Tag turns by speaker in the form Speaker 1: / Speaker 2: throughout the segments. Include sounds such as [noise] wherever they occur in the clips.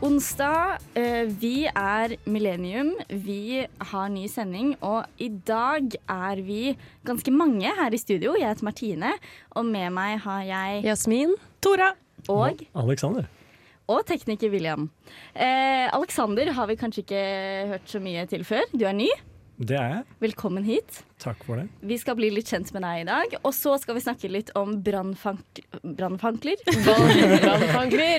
Speaker 1: Onsdag. eh, Vi er Millennium. Vi har ny sending, og i dag er vi ganske mange her i studio. Jeg heter Martine, og med meg har jeg
Speaker 2: Jasmin.
Speaker 3: Tora.
Speaker 1: og,
Speaker 4: Alexander.
Speaker 1: og tekniker William. Eh, Alexander har vi kanskje ikke hørt så mye til før. Du er ny.
Speaker 4: Det er jeg.
Speaker 1: Velkommen hit.
Speaker 4: Takk for det.
Speaker 1: Vi skal bli litt kjent med deg i dag, og så skal vi snakke litt om brannfank- brannfankler. Brannfakler.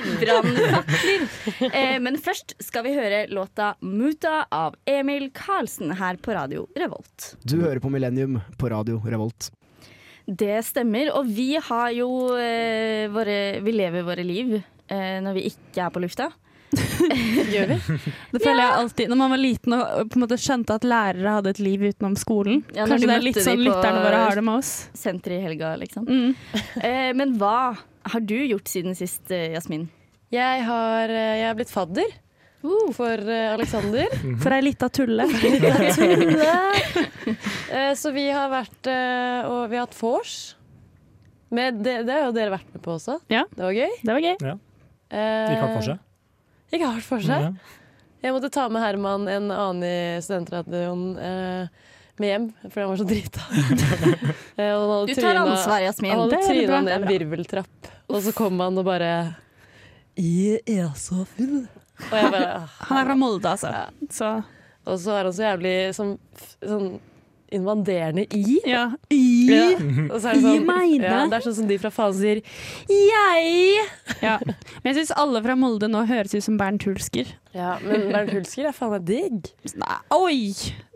Speaker 1: Eh, men først skal vi høre låta 'Muta' av Emil Karlsen her på Radio Revolt.
Speaker 5: Du hører på Millennium på radio Revolt.
Speaker 1: Det stemmer, og vi har jo eh, våre Vi lever våre liv eh, når vi ikke er på lufta.
Speaker 2: Gjør vi? Det føler jeg alltid Når man var liten og på en måte skjønte at lærere hadde et liv utenom skolen.
Speaker 1: Ja, når du
Speaker 2: Kanskje det er
Speaker 1: møtte
Speaker 2: litt
Speaker 1: de
Speaker 2: sånn
Speaker 1: på-
Speaker 2: lytterne våre har det med oss.
Speaker 1: Senter i helga, liksom.
Speaker 2: Mm.
Speaker 1: Eh, men hva har du gjort siden sist, eh, Jasmin?
Speaker 3: Jeg har, eh, jeg har blitt fadder
Speaker 2: Uh.
Speaker 3: for
Speaker 2: [laughs]
Speaker 3: eh, Alexander.
Speaker 2: For ei lita tulle.
Speaker 3: [laughs] Eh, Så vi har vært eh, Og vi har hatt vors. Med det, det har jo dere vært med på også.
Speaker 2: Ja.
Speaker 3: Det var gøy.
Speaker 2: Det var gøy.
Speaker 3: Eh,
Speaker 4: Gikk hardt for seg.
Speaker 3: Gikk hardt for seg.
Speaker 4: Ja.
Speaker 3: Jeg måtte ta med Herman, en annen i studentradioen, eh, med hjem fordi han var så drita.
Speaker 4: [laughs]
Speaker 3: Eh, og han hadde
Speaker 1: Du tar
Speaker 3: tryna-
Speaker 1: ansvar,
Speaker 3: Han
Speaker 1: Jasmin.
Speaker 3: hadde
Speaker 2: Det er
Speaker 3: tryna
Speaker 2: bra.
Speaker 3: ned en virveltrapp, og så kom han og bare I er så full. Og jeg bare «Ah».
Speaker 2: Han er fra Molde, altså. Så
Speaker 3: Og så er han så jævlig sånn, f- sånn invaderende i.
Speaker 2: ja.
Speaker 3: Ja. Og så er det
Speaker 2: I
Speaker 3: sånn,
Speaker 2: mine.
Speaker 3: ja, det er sånn som de fra faen sier Jeg!
Speaker 2: ja. Men jeg syns alle fra Molde nå høres ut som Bernt Hulsker.
Speaker 3: Ja, men Bernt Hulsker er faen meg digg.
Speaker 2: Oi!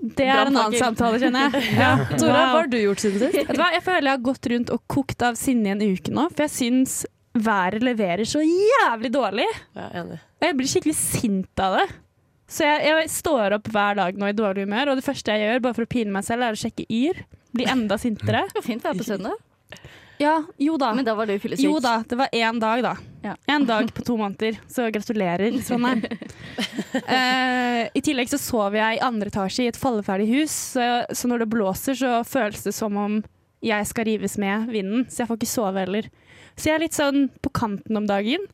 Speaker 2: Det er en annen samtale, kjenner jeg. Ja.
Speaker 3: Tora, hva
Speaker 2: Wow.
Speaker 3: har du gjort siden sist? [laughs]
Speaker 2: Vet du hva, jeg føler jeg har gått rundt og kokt av sinne i en uke nå, for jeg syns været leverer så jævlig dårlig.
Speaker 3: Ja, enig.
Speaker 2: Og jeg blir skikkelig sint av det. Så jeg, jeg står opp hver dag nå i dårlig humør, og det første jeg gjør, bare for å pine meg selv, er å sjekke Yr. Bli enda sintere.
Speaker 1: Det var fint
Speaker 2: [laughs]
Speaker 1: å være på søndag,
Speaker 2: Ja, jo da.
Speaker 1: men da var du fyllesyk.
Speaker 2: Jo da, det var én dag, da.
Speaker 1: Ja.
Speaker 2: Én dag på to måneder, så gratulerer,
Speaker 3: [laughs]
Speaker 2: Trondheim. Eh, I tillegg så sov jeg i andre etasje i et falleferdig hus, så, så når det blåser, så føles det som om jeg skal rives med vinden, så jeg får ikke sove heller. Så jeg er litt sånn på kanten om dagen.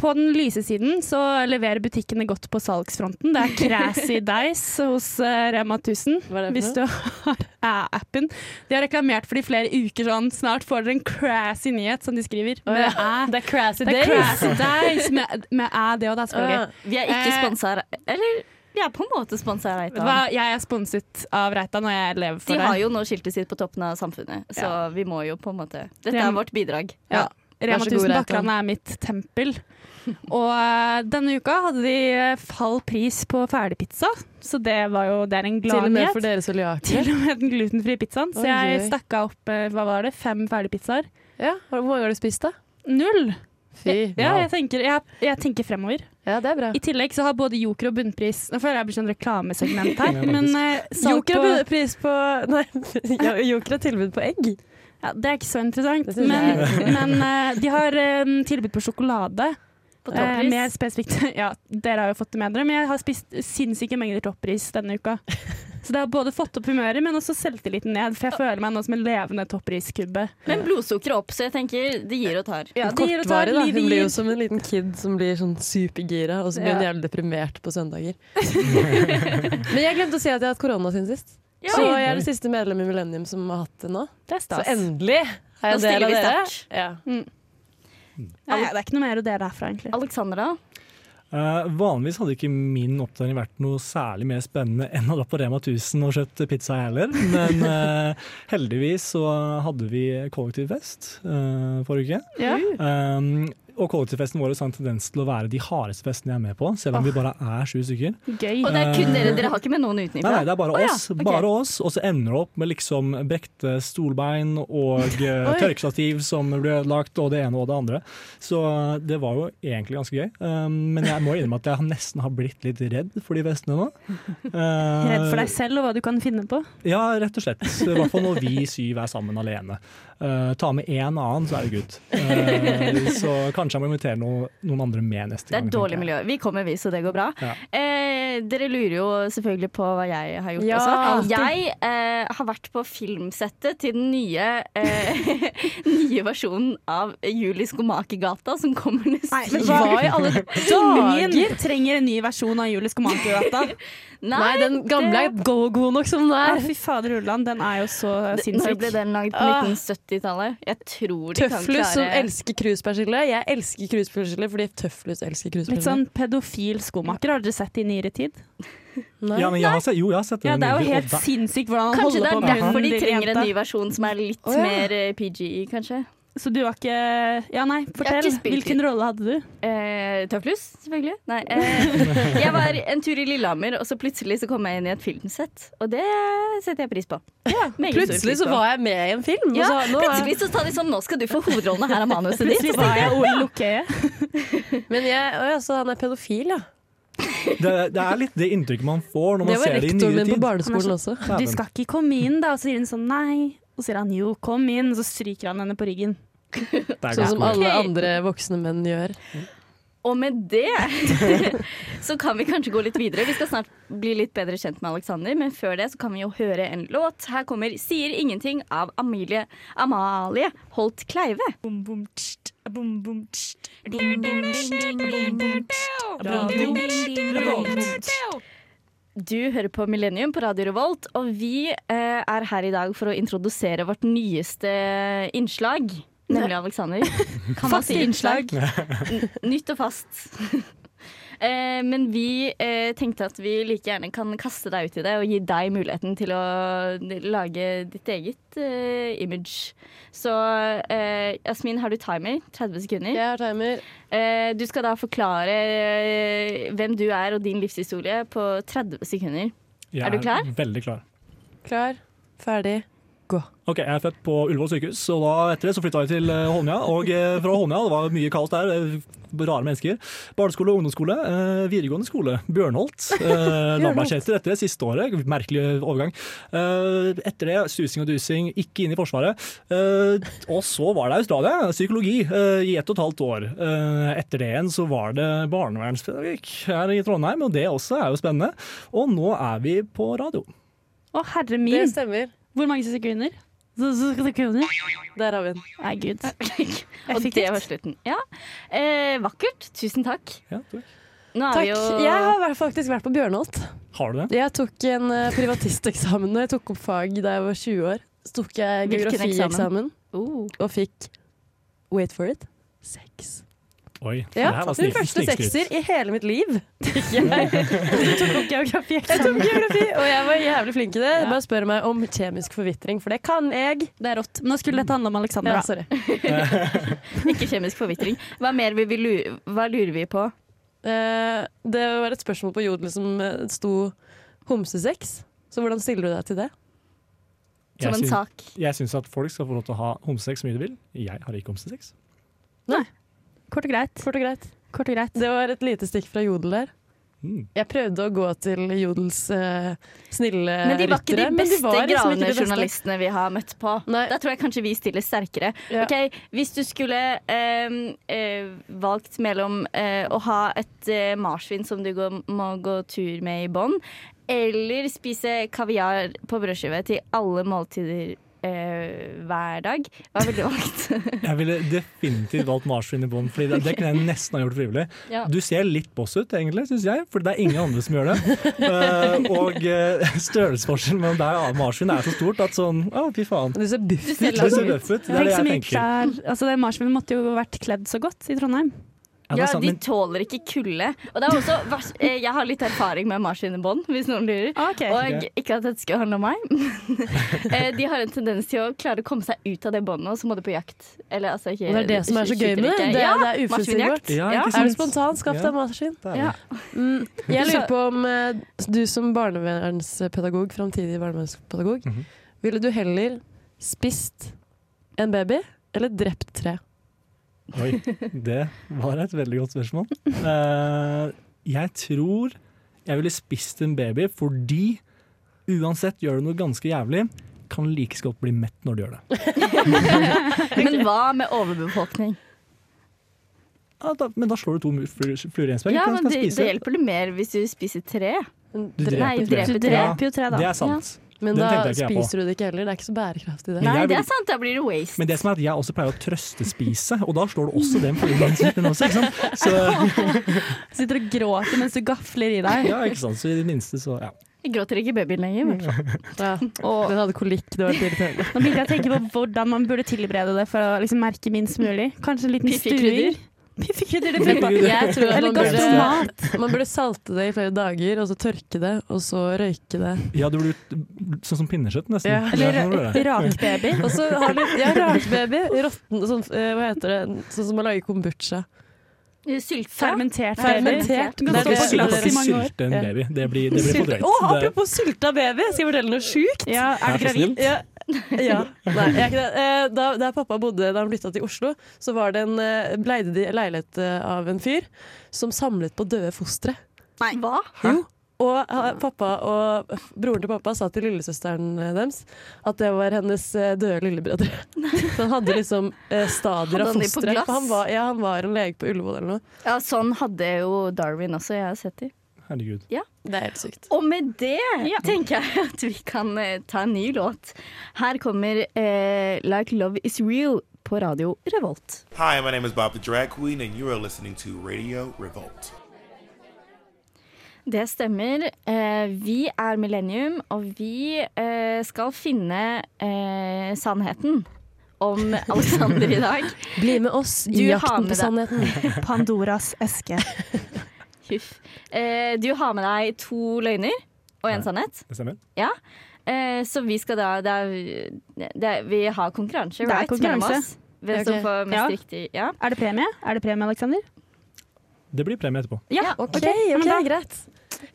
Speaker 2: På den lyse siden så leverer butikkene godt på salgsfronten. Det er
Speaker 3: [laughs]
Speaker 2: Crazy Dice hos eh, Rema 1000.
Speaker 3: Hva er det for
Speaker 2: Hvis du har æ-appen. De har reklamert for det i flere uker sånn. Snart får dere en crazy nyhet, som de skriver.
Speaker 3: Å, ja. Ah,
Speaker 2: Med æ.
Speaker 3: Det er crazy Ah,
Speaker 2: Det er crazy days med, med æ, det og det er selvfølgelig.
Speaker 1: Vi er ikke
Speaker 2: Eh,
Speaker 1: sponsa av Eller vi er på en måte sponsa av
Speaker 2: Vet du Hva,
Speaker 1: Reitan.
Speaker 2: jeg er sponset av Reitan, og jeg lever
Speaker 1: De
Speaker 2: for
Speaker 1: har
Speaker 2: det.
Speaker 1: jo nå skiltet sitt på toppen av samfunnet, så vi må jo på en måte Dette
Speaker 2: Ja.
Speaker 1: er vårt bidrag.
Speaker 2: Ja. Rema
Speaker 3: Vær så god,
Speaker 2: 1000
Speaker 3: Reitan.
Speaker 2: Bakland er mitt tempel. Og eh, denne uka hadde de eh, fall pris på ferdigpizza, så det var jo det er en
Speaker 3: Til og med
Speaker 2: gladnyhet.
Speaker 3: for dere
Speaker 2: [laughs]
Speaker 3: cøliaker.
Speaker 2: Til og med den glutenfrie pizzaen. Så
Speaker 3: Oi,
Speaker 2: jeg
Speaker 3: oi.
Speaker 2: stakk av opp eh, hva var det, fem ferdigpizzaer.
Speaker 3: Ja, hvor mange har du spist, da?
Speaker 2: Null!
Speaker 3: Fy.
Speaker 2: Ja, jeg tenker, jeg, jeg tenker fremover.
Speaker 3: Ja, det er bra.
Speaker 2: I tillegg så har både Joker og Bunnpris Nå føler jeg jeg blir sånn reklamesegment her,
Speaker 4: Ja,
Speaker 2: men eh, salg på,
Speaker 3: pris på Nei, [laughs] ja, Joker har tilbud på egg.
Speaker 2: ja, Det er ikke så interessant.
Speaker 3: Det synes
Speaker 2: Men,
Speaker 3: jeg
Speaker 2: [laughs] men eh, de har eh, tilbud på sjokolade.
Speaker 1: På
Speaker 2: Eh, mer
Speaker 1: toppris.
Speaker 2: spesifikt [laughs] Ja, dere har jo fått det med dere, men jeg har spist sinnssyke mengder toppris denne uka.
Speaker 3: [laughs]
Speaker 2: Så det har både fått opp humøret, men også selvtilliten ned, for jeg føler meg nå som en levende toppriskubbe.
Speaker 1: Men blodsukkeret opp, så jeg tenker det gir og tar.
Speaker 2: Ja, det gir og tar,
Speaker 3: Kortvarig, da.
Speaker 2: livet
Speaker 3: Hun blir
Speaker 2: gir.
Speaker 3: jo som en liten kid som blir sånn supergira, og så blir hun
Speaker 2: Ja.
Speaker 3: jævlig deprimert på [laughs] søndager. Men jeg glemte å si at jeg har hatt korona siden sist.
Speaker 1: Ja,
Speaker 3: Så jeg er det siste medlem i Millennium som har hatt det nå.
Speaker 2: Det er
Speaker 3: Så
Speaker 2: stas.
Speaker 3: endelig er
Speaker 1: Nå
Speaker 3: jeg del
Speaker 1: stiller
Speaker 3: av
Speaker 1: vi
Speaker 3: dere.
Speaker 1: sterkt.
Speaker 3: Ja.
Speaker 2: Ja, ja, det er ikke noe mer å dele herfra, egentlig.
Speaker 1: Alexandra,
Speaker 4: Eh, vanligvis hadde ikke min oppdatering vært noe særlig mer spennende enn å dra på Rema 1000 og kjøpt pizza heller, men eh, heldigvis så hadde vi kollektivfest eh, forrige uke.
Speaker 2: Ja.
Speaker 4: Um, og kollektivfesten vår har en tendens til å være de hardeste festene jeg er med på, selv om vi bare er sju stykker.
Speaker 2: Gøy.
Speaker 1: og det er kun dere, dere har ikke med noen
Speaker 4: Nei, nei,
Speaker 1: utenfra?
Speaker 4: det er bare
Speaker 1: Å ja,
Speaker 4: oss,
Speaker 1: ok.
Speaker 4: bare oss, og så ender det opp med liksom brekte stolbein og uh,
Speaker 3: Oi.
Speaker 4: tørkestativ som ble ødelagt, og det ene og det andre. Så eh, det var jo egentlig ganske gøy. Um, men jeg må innrømme at jeg nesten har blitt litt redd for de festene nå. Eh,
Speaker 2: Redd for deg selv og hva du kan finne på.
Speaker 4: Ja, rett og slett. I hvert fall når vi syv er sammen alene. Uh, ta med én annen, så er det good. Uh, så kanskje jeg må invitere noe, noen andre med neste
Speaker 1: Det
Speaker 4: gang.
Speaker 1: er dårlig
Speaker 4: tenker jeg.
Speaker 1: miljø. Vi kommer, vi, så det går bra.
Speaker 4: Ja.
Speaker 1: Eh, Eh, dere lurer jo selvfølgelig på hva jeg har gjort
Speaker 3: Ja,
Speaker 1: også.
Speaker 3: alltid.
Speaker 1: Jeg eh, har vært på filmsettet til den nye, eh, [laughs] nye versjonen av Juli Skomakergata som kommer neste [laughs]
Speaker 2: Nei, men
Speaker 1: år.
Speaker 2: hva i alle
Speaker 3: dager?
Speaker 2: Ingen trenger en ny versjon av Julie Skomakergata.
Speaker 3: Nei, den gamle er
Speaker 1: det-
Speaker 3: go god nok som den
Speaker 2: Ja,
Speaker 3: er.
Speaker 2: fy fader Ulland, den er jo så
Speaker 1: Når ble
Speaker 2: sinnssyk.
Speaker 1: den lagd på
Speaker 3: Ah.
Speaker 1: 1970-tallet? Jeg tror de kan klare
Speaker 3: Tøflus som elsker kruspersille. Jeg elsker kruspersille fordi Tøflus elsker kruspersille.
Speaker 2: Litt sånn pedofil skomaker, har dere sett i nyere tid?
Speaker 3: Nei.
Speaker 4: Ja, men jeg har sett, jo, jeg har sett
Speaker 2: Ja,
Speaker 4: den
Speaker 2: det er jo
Speaker 4: nylig, og
Speaker 2: helt
Speaker 4: da-
Speaker 2: sinnssykt hvordan han
Speaker 1: Kanskje det
Speaker 2: holder på
Speaker 1: er
Speaker 2: med
Speaker 1: derfor de
Speaker 2: den lille
Speaker 1: trenger en
Speaker 2: jenta.
Speaker 1: ny versjon som er litt
Speaker 3: Å, ja.
Speaker 1: mer eh, PG, kanskje.
Speaker 2: Så du var ikke Ja, nei,
Speaker 1: har
Speaker 2: fortell.
Speaker 1: ikke spilt
Speaker 2: Hvilken rolle hadde du?
Speaker 1: Eh, Tøflus, selvfølgelig. Nei. Eh, jeg var en tur i Lillehammer, og så plutselig så kom jeg inn i et filmsett. Og det setter jeg pris på. Meget stor
Speaker 3: Plutselig
Speaker 1: pris
Speaker 3: så
Speaker 1: på.
Speaker 3: var jeg med i en film. og
Speaker 1: ja,
Speaker 3: så, nå er
Speaker 1: Plutselig så sa de sånn, nå skal du få hovedrollen, og her er manuset ditt.
Speaker 2: Plutselig var
Speaker 3: [laughs]
Speaker 2: jeg Ole Lukkøye.
Speaker 3: Men jeg, å, ja, så han er pedofil, ja.
Speaker 4: det, det er litt det inntrykket man får når
Speaker 3: Det
Speaker 4: man
Speaker 3: var
Speaker 4: ser det i
Speaker 3: rektoren
Speaker 4: nyere
Speaker 3: min på
Speaker 4: tid.
Speaker 3: barneskolen også.
Speaker 2: Du skal ikke komme inn, da. Og så sier hun sånn nei. Og så sier han jo, kom inn. Og så stryker han henne på ryggen.
Speaker 4: Det er godt
Speaker 3: Sånn som
Speaker 4: mulig.
Speaker 3: alle
Speaker 1: Ok.
Speaker 3: andre voksne menn gjør.
Speaker 1: Og med det så kan vi kanskje gå litt videre. Vi skal snart bli litt bedre kjent med Alexander, men før det så kan vi jo høre en låt. Her kommer 'Sier ingenting' av Amalie, Amalie Holt Kleive. Du hører på Millennium på Radio Revolt, og vi eh, er her i dag for å introdusere vårt nyeste eh, innslag. Nemlig Alexander. [laughs] Kan man
Speaker 2: Fast
Speaker 1: si
Speaker 2: innslag.
Speaker 1: N- Nytt og fast. [laughs] Eh, Men vi eh, tenkte at vi like gjerne kan kaste deg ut i det og gi deg muligheten til å lage ditt eget eh, image. Så eh, Yasmin, har du timer? 30 sekunder.
Speaker 3: Jeg har timer.
Speaker 1: Eh, Du skal da forklare eh, hvem du er og din livshistorie på 30 sekunder.
Speaker 4: Jeg
Speaker 1: Er du klar?
Speaker 4: Veldig klar.
Speaker 3: Klar, ferdig.
Speaker 4: Ok, Jeg er født på Ullevål sykehus, og da etter det så flytta jeg til eh, Holmlia. Og eh, fra Holmlia, det var mye kaos der, eh, rare mennesker. Barneskole og ungdomsskole, eh, videregående skole, Bjørnholt.
Speaker 3: [laughs]
Speaker 4: Eh, Lambertseter etter det siste året, merkelig overgang. Eh, etter det susing og dusing, ikke inn i Forsvaret. Eh, og så var det Australia, psykologi, eh, i ett og et halvt år. Eh, etter det igjen så var det barnevernspedagogikk her i Trondheim, og det også er jo spennende. Og nå er vi på radio.
Speaker 2: Å, herre
Speaker 3: Det
Speaker 2: min.
Speaker 3: stemmer.
Speaker 2: Hvor mange sekunder? Så- så- så- sekunder?
Speaker 3: Der har vi den.
Speaker 2: Nei,
Speaker 3: [laughs]
Speaker 2: gud.
Speaker 1: Og det var
Speaker 2: Effektivt.
Speaker 1: slutten. Ja. Eh, vakkert. Tusen takk.
Speaker 4: Ja, takk.
Speaker 1: Nå er
Speaker 3: Takk.
Speaker 1: vi jo
Speaker 3: Jeg har vært- faktisk vært på Bjørnholt.
Speaker 4: Har du det?
Speaker 3: Jeg tok en eh, privatisteksamen da jeg tok opp fag da jeg var 20 år. Så tok jeg
Speaker 1: Hvilken
Speaker 3: geografieksamen
Speaker 1: oh.
Speaker 3: og fikk Wait for it. Seks.
Speaker 4: Oi.
Speaker 3: Ja,
Speaker 4: det her var
Speaker 3: den
Speaker 4: snik-
Speaker 3: første
Speaker 4: snikskryt.
Speaker 3: sekser i hele mitt liv. [laughs] Fikk jeg.
Speaker 2: Du tok opp geografieksamen.
Speaker 3: Jeg tok geografi, og jeg var jævlig flink i det. Bare spør meg om kjemisk forvitring, for det kan jeg.
Speaker 2: Det er rått. Nå skulle dette handle om altså. Alexandra.
Speaker 3: Ja, sorry.
Speaker 1: Ikke kjemisk forvitring. Hva mer vi vil lure, hva lurer vi på?
Speaker 3: Eh, det var et spørsmål på Jodel som eh, sto homsesex. Så hvordan stiller du deg til det?
Speaker 1: Som
Speaker 4: Jeg
Speaker 1: en
Speaker 4: syns-
Speaker 1: sak.
Speaker 4: Jeg syns at folk skal få lov til å ha homsesex så mye de vil. Jeg har ikke homsesex.
Speaker 2: Kort og greit.
Speaker 3: Kort og greit.
Speaker 2: Kort og greit.
Speaker 3: Det var et lite stikk fra Jodel der.
Speaker 4: Mm.
Speaker 3: Jeg prøvde å gå til Jodels eh, snille
Speaker 1: Men de var ikke de
Speaker 3: ryttere, men
Speaker 1: beste
Speaker 3: var liksom ikke
Speaker 1: gravende
Speaker 3: de beste.
Speaker 1: journalistene vi har møtt på.
Speaker 3: Nei.
Speaker 1: Da tror jeg kanskje vi stiller sterkere.
Speaker 3: Ja.
Speaker 1: Ok, Hvis du skulle ehm, eh, valgt mellom eh, å ha et eh, marsvin som du går, må gå tur med i bånd, eller spise kaviar på brødskive til alle måltider eh, hver dag, hva ville du
Speaker 3: [laughs]
Speaker 1: valgt?
Speaker 4: Jeg ville definitivt valgt marsvin i bånd, Fordi det, det kunne jeg nesten ha gjort frivillig.
Speaker 1: Ja.
Speaker 4: Du ser litt boss ut, egentlig, syns jeg, for det er ingen andre som gjør det. Eh, og eh, størrelsesforskjellen mellom deg og marsvin er så stort at sånn Å, fy faen.
Speaker 3: Du ser buff
Speaker 1: Du
Speaker 3: ut.
Speaker 1: ser
Speaker 4: Du
Speaker 1: lang
Speaker 4: ser
Speaker 1: ut.
Speaker 4: røff ut. Det
Speaker 2: Det er
Speaker 4: er det
Speaker 2: ikke så
Speaker 4: jeg
Speaker 2: mye
Speaker 4: tenker.
Speaker 2: klær. Altså, det marsvinet måtte jo vært kledd så godt i Trondheim.
Speaker 4: Ja, det
Speaker 1: Ja,
Speaker 4: er
Speaker 3: altså,
Speaker 4: sant,
Speaker 1: de
Speaker 4: men
Speaker 1: tåler ikke kulde. Og det er også, vers- eh, jeg har litt erfaring med marsvinebånd, hvis noen lurer.
Speaker 2: Ah,
Speaker 1: Og ikke at dette skal handle om meg, men [laughs] eh, de har en tendens til å klare å komme seg ut av det båndet, og så må de på jakt. Eller, altså, ikke,
Speaker 3: Og det er det som er så gøy med det.
Speaker 1: skyter ikke.
Speaker 3: Det er-
Speaker 1: ja,
Speaker 3: det er uforutsigbart.
Speaker 1: marsvinjakt.
Speaker 4: Ja,
Speaker 1: Ja.
Speaker 4: ikke
Speaker 3: Er du spontan? Skaff
Speaker 4: Ja.
Speaker 3: deg maskin.
Speaker 4: det er
Speaker 1: Ja.
Speaker 3: Mm, jeg lurer på om eh, du som barnevernspedagog, framtidig barnevernspedagog,
Speaker 4: Mhm.
Speaker 3: ville du heller spist en baby eller drept tre?
Speaker 4: Oi, det var et veldig godt spørsmål. Eh, jeg tror jeg ville spist en baby, fordi uansett gjør du noe ganske jævlig, kan like så godt bli mett når du gjør det.
Speaker 1: Men hva med overbefolkning?
Speaker 4: Ja, da, men da slår du to mu- fluer fluer i en smekk.
Speaker 1: Ja,
Speaker 4: Den
Speaker 1: men
Speaker 4: skal
Speaker 1: det,
Speaker 4: spise.
Speaker 1: det hjelper det mer hvis du spiser tre.
Speaker 4: Du dreper
Speaker 1: Nei,
Speaker 4: tre.
Speaker 1: dreper tre.
Speaker 4: Ja,
Speaker 1: Dreper jo tre, da.
Speaker 4: det er sant.
Speaker 3: Men
Speaker 4: Den
Speaker 3: da
Speaker 4: tenkte jeg ikke jeg på.
Speaker 3: spiser du det ikke heller. Det er ikke så bærekraftig, det.
Speaker 4: Men
Speaker 1: Nei,
Speaker 4: jeg
Speaker 1: det
Speaker 4: vil-
Speaker 1: er sant. Da blir det waste.
Speaker 4: Men det som er at jeg også pleier å trøstespise, og da slår du også den fluen i en smekk. den også, ikke sant? Så,
Speaker 2: Sitter og gråter mens du gafler i deg.
Speaker 4: ja, ikke sant? så i det minste så ja.
Speaker 1: Jeg gråter ikke babyen lenger. i hvert fall.
Speaker 4: [laughs]
Speaker 3: Ja.
Speaker 2: Og
Speaker 3: Den hadde kolikk, det var litt irriterende.
Speaker 2: nå begynte jeg å tenke på hvordan man burde tilberede det for å liksom merke minst mulig. Kanskje en liten
Speaker 1: Piffikrydder.
Speaker 2: stuing. Piffikrydder, det funker.
Speaker 4: Piffikrydder.
Speaker 3: Jeg tror at
Speaker 2: Eller
Speaker 3: man
Speaker 2: gastromat.
Speaker 3: burde, man burde salte det i flere dager, og så tørke det, og så
Speaker 2: [laughs]
Speaker 3: røyke det.
Speaker 4: ja, du blir sånn som pinnekjøtt, nesten.
Speaker 3: Ja.
Speaker 4: Det er sånn du
Speaker 2: Eller
Speaker 4: gjør det.
Speaker 2: rakbaby.
Speaker 3: Og så har litt ja, rakbaby. Råtten sånn, eh, Hva heter det? Sånn som å lage kombucha.
Speaker 1: Sylta.
Speaker 2: Fermentert baby.
Speaker 3: Fermentert.
Speaker 2: Du kan
Speaker 3: Det er
Speaker 2: stå på
Speaker 3: det-
Speaker 4: Du kan
Speaker 2: glass i
Speaker 4: ikke
Speaker 2: mange år.
Speaker 4: sylte en
Speaker 3: Ja.
Speaker 4: baby. Det blir, det blir for
Speaker 3: Å,
Speaker 4: drøyt. Det-
Speaker 3: apropos sylta baby! Skal jeg fortelle noe sjukt?
Speaker 2: Ja, er du
Speaker 4: Det er så
Speaker 2: gravid?
Speaker 4: snilt.
Speaker 3: Ja.
Speaker 4: [laughs]
Speaker 3: ja. Nei, jeg er ikke det. Eh, Da, der pappa bodde da han flytta til Oslo, så var det en, eh, leide de leilighet eh, av en fyr som samlet på døde fostre.
Speaker 1: Nei. Hva?
Speaker 3: Jo. Og ha- pappa og broren til pappa sa til lillesøsteren eh, deres at det var hennes eh, døde lillebrødre. Så han hadde liksom eh, stadier
Speaker 1: Hadde
Speaker 3: av
Speaker 1: han de på
Speaker 3: fostre.
Speaker 1: glass?
Speaker 3: For Han, var- ja, han var en lege på Ullevål eller noe.
Speaker 1: Ja, sånn hadde jo Darwin også. Jeg har sett det.
Speaker 4: Herregud.
Speaker 3: Det er helt sykt.
Speaker 1: Og med det tenker jeg [laughs] at vi kan eh, ta en ny låt. Her kommer eh, 'Like Love Is Real' på radio Revolt.
Speaker 6: Hi, my name is Bob the Drag Queen, and you are listening to Radio Revolt.
Speaker 1: Det stemmer. Eh, vi er Millennium, og vi eh, skal finne eh, sannheten
Speaker 2: [laughs]
Speaker 1: om Alexander i dag.
Speaker 3: Bli med oss i
Speaker 1: Du har med
Speaker 3: jakten på
Speaker 1: deg-
Speaker 3: sannheten.
Speaker 2: Pandoras eske.
Speaker 1: Huff. Eh, du har med deg to løgner og en sannhet.
Speaker 4: Det stemmer.
Speaker 1: Ja. Eh, så vi skal da det er, det er, Vi har konkurranse,
Speaker 2: Det er
Speaker 1: right? mellom
Speaker 2: konkurranse.
Speaker 1: oss. Hvem
Speaker 3: Ja, ok.
Speaker 1: som får mest
Speaker 2: Ja.
Speaker 1: riktig. Ja.
Speaker 2: Er det premie? Er det premie, Aleksander?
Speaker 4: Det blir premie etterpå.
Speaker 1: Ja,
Speaker 3: OK,
Speaker 2: men
Speaker 3: ok,
Speaker 2: da-
Speaker 3: greit.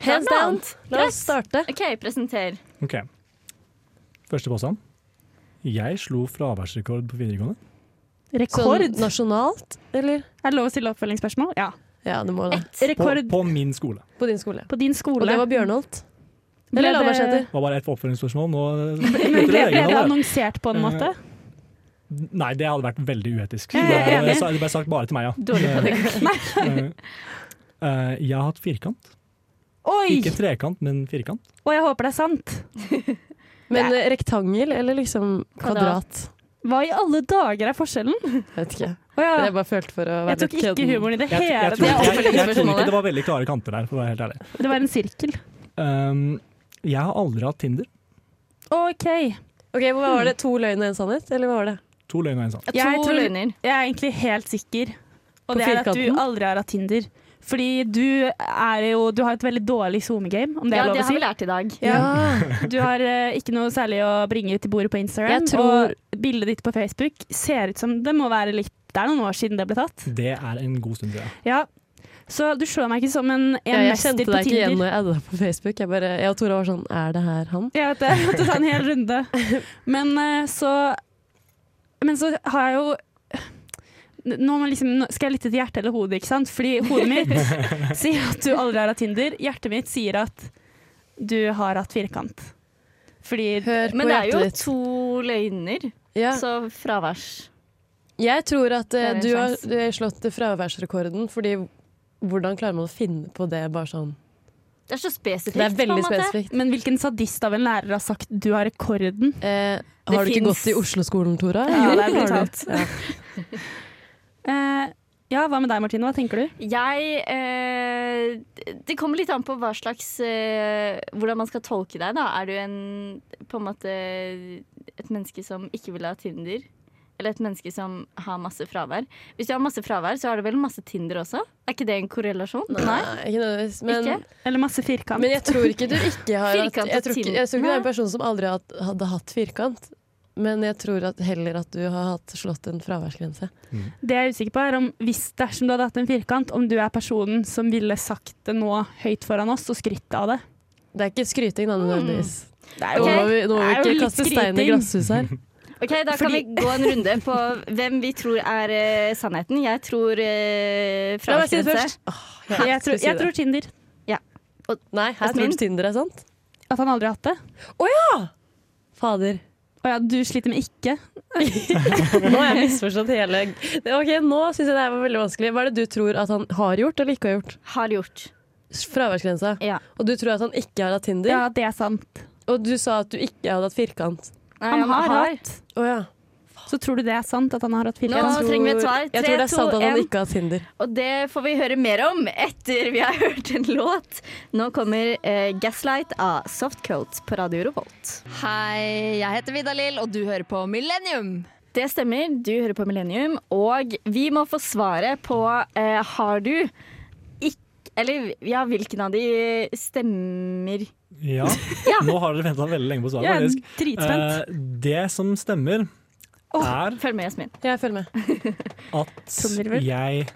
Speaker 1: Hands
Speaker 3: Hands down.
Speaker 1: down.
Speaker 3: La oss starte.
Speaker 1: OK, presenter.
Speaker 4: Ok. Første påstand. Jeg slo fraværsrekord på videregående.
Speaker 2: Rekord?
Speaker 3: Sånn nasjonalt, eller?
Speaker 2: Er det lov å stille oppfølgingsspørsmål? Ja.
Speaker 3: Ja, det må det.
Speaker 4: På,
Speaker 2: Rekord
Speaker 4: på min skole.
Speaker 3: På din skole.
Speaker 2: på din skole.
Speaker 3: Og det var Bjørnholt.
Speaker 2: Ble
Speaker 3: Eller Lavasæter.
Speaker 2: det-
Speaker 4: Det var bare ett oppfølgingsspørsmål. Nå
Speaker 2: [laughs] Men Ble, ble det
Speaker 4: Reglene, det.
Speaker 2: annonsert på en måte?
Speaker 4: Nei, det hadde vært veldig uetisk.
Speaker 2: Jeg
Speaker 4: Det
Speaker 2: er
Speaker 4: ble,
Speaker 2: enig.
Speaker 4: det ble sagt bare til meg, ja.
Speaker 1: Dårlig
Speaker 4: [laughs]
Speaker 1: pedagogikk.
Speaker 4: Eh, eh, jeg har hatt firkant.
Speaker 2: Oi!
Speaker 4: Ikke trekant, men firkant.
Speaker 2: Og jeg håper det er sant.
Speaker 3: Men eh, rektangel eller liksom kvadrat?
Speaker 1: Kvadrat.
Speaker 2: Hva i alle dager er forskjellen?
Speaker 3: Vet ikke.
Speaker 2: Å ja.
Speaker 3: Jeg bare følte for å være
Speaker 2: Jeg tok
Speaker 3: litt
Speaker 2: ikke
Speaker 3: kødden.
Speaker 2: humoren i det
Speaker 4: Jeg, jeg,
Speaker 2: hele
Speaker 4: tror,
Speaker 1: det er
Speaker 4: jeg, jeg,
Speaker 1: oppfølgingsspørsmålet.
Speaker 4: tror ikke det var veldig klare kanter der, for å være helt ærlig.
Speaker 2: tatt. Det var en sirkel.
Speaker 4: Um, jeg har aldri hatt Tinder.
Speaker 2: OK.
Speaker 3: Ok, hva Var det to løgn og en sannhet, eller hva var det?
Speaker 4: To løgn og en sann.
Speaker 1: To
Speaker 2: Jeg tror-
Speaker 1: løgner.
Speaker 2: Jeg er egentlig helt sikker, og
Speaker 3: På
Speaker 2: det er at du
Speaker 3: firkanten?
Speaker 2: aldri har hatt Tinder. Fordi du er jo Du har et veldig dårlig SoMe-game, om det
Speaker 1: Ja, det
Speaker 2: er lov å
Speaker 1: har vi
Speaker 2: si.
Speaker 1: lært i dag.
Speaker 2: Ja. Du har eh, ikke noe særlig å bringe til bordet på Instagram.
Speaker 3: Jeg tror-
Speaker 2: Og bildet ditt på Facebook ser ut som Det må være litt Det er noen år siden det ble tatt.
Speaker 4: Det er en god stund siden.
Speaker 2: Ja. Så du slår meg ikke som en, en
Speaker 3: Ja, jeg
Speaker 2: mester
Speaker 3: kjente
Speaker 2: på
Speaker 3: deg ikke igjen
Speaker 2: Tinder.
Speaker 3: når jeg adda deg på Facebook. Jeg, bare, jeg og Tora var sånn Er det her han?
Speaker 2: Jeg vet det, jeg måtte ta en hel runde. Men eh, så Men så har jeg jo nå, må jeg liksom, nå skal jeg lytte til hjertet eller hodet, ikke sant? Fordi hodet mitt sier at du aldri har hatt Tinder. Hjertet mitt sier at du har hatt firkant. Fordi
Speaker 3: Hør på
Speaker 1: Men det er jo
Speaker 3: hjertet ditt.
Speaker 1: to løgner,
Speaker 3: Ja.
Speaker 1: så fraværs.
Speaker 3: Jeg tror at eh,
Speaker 1: Det er en
Speaker 3: du har
Speaker 1: sjans.
Speaker 3: du har slått fraværsrekorden, fordi hvordan klarer man å finne på det bare sånn?
Speaker 1: Det er så spesifikt.
Speaker 3: Det er
Speaker 1: på en
Speaker 3: veldig
Speaker 1: måte.
Speaker 3: spesifikt.
Speaker 2: Men hvilken sadist av en lærer har sagt 'du har rekorden'?
Speaker 3: Eh, har du ikke
Speaker 1: finnes-
Speaker 3: gått i Oslo-skolen, Tora?
Speaker 2: Ja, det er
Speaker 3: Har du?
Speaker 2: brutalt.
Speaker 3: Ja.
Speaker 2: Eh, ja, hva med deg, Martine? Hva tenker du?
Speaker 1: Jeg eh, d- Det kommer litt an på hva slags eh, Hvordan man skal tolke deg, da. Er du en på en måte et menneske som ikke vil ha Tinder? Eller et menneske som har masse fravær? Hvis du har masse fravær, så har du vel masse Tinder også? Er ikke det en korrelasjon?
Speaker 3: Nei, ikke nødvendigvis. Men,
Speaker 1: Ikke?
Speaker 2: Eller masse firkant?
Speaker 3: men jeg tror ikke du ikke har hatt
Speaker 1: Firkantet
Speaker 3: Jeg tror ikke, jeg tror ikke du er
Speaker 1: Nei.
Speaker 3: en person som aldri hatt- hadde hatt firkant. Men jeg tror at heller at du har hatt slått en fraværsgrense.
Speaker 2: Det jeg er usikker på er om hvis dersom du hadde hatt en firkant, om du er personen som ville sagt det nå høyt foran oss og skrytt av det.
Speaker 3: Det er ikke skryting, da, nødvendigvis.
Speaker 2: Det
Speaker 1: jo-
Speaker 3: Nå må vi, nå må
Speaker 2: det er jo
Speaker 3: vi ikke
Speaker 2: litt
Speaker 3: kaste stein i
Speaker 2: skryting.
Speaker 3: glasshuset her.
Speaker 1: Ok, Da kan
Speaker 2: Fordi-
Speaker 1: vi gå en runde på hvem vi tror er eh, sannheten. Jeg tror eh,
Speaker 3: La meg si det
Speaker 1: fraværsgrense.
Speaker 3: først. Åh,
Speaker 2: Jeg tror, jeg tror Tinder.
Speaker 3: Nei, her tror
Speaker 1: Jasmin?
Speaker 3: du Tinder er sant?
Speaker 2: At han aldri har hatt det.
Speaker 3: Fader.
Speaker 2: Å Å ja, du sliter med ikke?
Speaker 3: [laughs] Nå har jeg misforstått hele Ok, Nå syns jeg det her var veldig vanskelig. Hva er det du tror at han har gjort eller ikke har gjort?
Speaker 1: Har gjort.
Speaker 3: Fraværsgrensa.
Speaker 1: Ja.
Speaker 3: Og du tror at han ikke har hatt Tinder?
Speaker 2: Ja, det er sant.
Speaker 3: Og du sa at du ikke hadde hatt firkant.
Speaker 1: Nei,
Speaker 2: Han har
Speaker 1: hatt.
Speaker 3: Å ja.
Speaker 2: Så tror du det er sant at han har hatt
Speaker 1: Nå
Speaker 2: firkant?
Speaker 1: trenger vi et svar.
Speaker 3: Jeg
Speaker 1: Tre,
Speaker 3: tror det er sant
Speaker 1: to,
Speaker 3: at han
Speaker 1: en.
Speaker 3: ikke har hatt Tinder.
Speaker 1: Og det får vi høre mer om etter vi har [laughs] hørt en låt. Nå kommer eh, Gaslight av Softcoat på Radio Revolt.
Speaker 7: Hei, jeg heter Vidalil, og du hører på Millennium.
Speaker 1: Det stemmer, du hører på Millennium, og vi må få svaret på eh, har du ikk- eller ja, hvilken av de stemmer
Speaker 4: Ja. Nå har dere venta veldig lenge på svaret,
Speaker 2: Jeg er
Speaker 4: faktisk.
Speaker 2: dritspent.
Speaker 4: Eh, det som stemmer, er
Speaker 1: Følg med, Jasmin.
Speaker 3: Jeg følger med.
Speaker 4: at
Speaker 2: Trommevirvel.
Speaker 4: jeg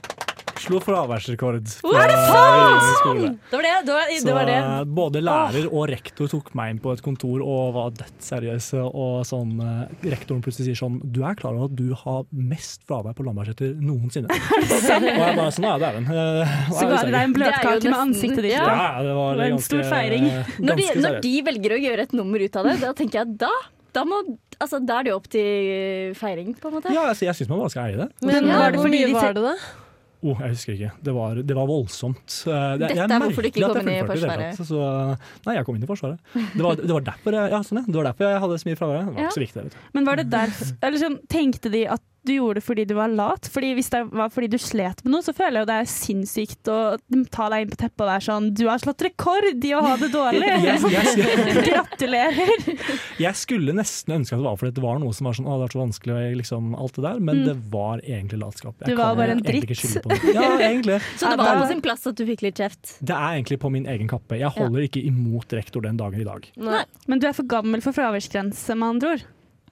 Speaker 4: slo fraværsrekord på videregående skole.
Speaker 3: Det var det. Det var det.
Speaker 4: Så eh,
Speaker 3: Var det.
Speaker 4: både lærer og rektor tok meg inn på et kontor og var dødt seriøse. Og sånn, eh, rektoren plutselig sier sånn Du er klar over at du har mest fravær på Lambertseter noensinne? og jeg bare sånn, ja, det er den. [laughs] Eh,
Speaker 2: Så
Speaker 4: og jeg
Speaker 2: ga de deg en
Speaker 4: visste
Speaker 1: Det er jo
Speaker 2: bløtkake med
Speaker 1: nesten-
Speaker 2: ansiktet ditt.
Speaker 4: ikke.
Speaker 2: på.
Speaker 4: Ja,
Speaker 2: Det
Speaker 4: det var
Speaker 2: var en
Speaker 4: ganske-
Speaker 2: stor feiring.
Speaker 1: Når de,
Speaker 4: ganske
Speaker 1: når
Speaker 4: seriøst.
Speaker 1: de velger å gjøre et nummer ut av det, da tenker jeg at da, da, må, altså, da er det jo opp til eh, feiring, på en måte.
Speaker 4: Ja, altså, jeg syns man bare skal eie det.
Speaker 3: Men
Speaker 2: Ja,
Speaker 3: var
Speaker 2: hvor
Speaker 3: det fordi
Speaker 2: mye
Speaker 3: de
Speaker 2: var
Speaker 3: var det, da?
Speaker 4: Oh, jeg husker ikke. Det var, det var voldsomt. Eh, det-
Speaker 1: Dette
Speaker 4: jeg
Speaker 1: er hvorfor
Speaker 4: merker
Speaker 1: du ikke
Speaker 4: at jeg
Speaker 1: kom inn i
Speaker 4: fullførte det
Speaker 1: Forsvaret.
Speaker 4: hele tatt, Så, nei, jeg kom inn i Forsvaret. Det var, det var, derfor, jeg, ja, sånn, ja. Det var derfor jeg hadde så mye fravær. Det var
Speaker 1: Ja.
Speaker 4: ikke så viktig. Vet du.
Speaker 2: Men var det der, eller sånn, tenkte de at du gjorde det fordi du var lat? Fordi Hvis det var fordi du slet med noe, så føler jeg jo det er sinnssykt å ta deg inn på teppet og være sånn Du har slått rekord i å ha det dårlig!
Speaker 4: Jeg, jeg,
Speaker 2: [laughs] Gratulerer!
Speaker 4: jeg skulle nesten ønske at det var fordi det var noe som var sånn, å, det er så vanskelig og liksom, alt det der, men det var egentlig latskap. Jeg
Speaker 2: Du var
Speaker 4: kan
Speaker 2: bare en
Speaker 4: egentlig ikke
Speaker 2: dritt.
Speaker 4: skylde på noe. Ja, egentlig.
Speaker 1: Så det var på sin plass at du fikk litt kjeft.
Speaker 4: Det er egentlig på min egen kappe. Jeg holder ikke imot rektor den dagen i dag.
Speaker 3: Nei.
Speaker 2: Men du er for gammel for fraværsgrense, med andre ord.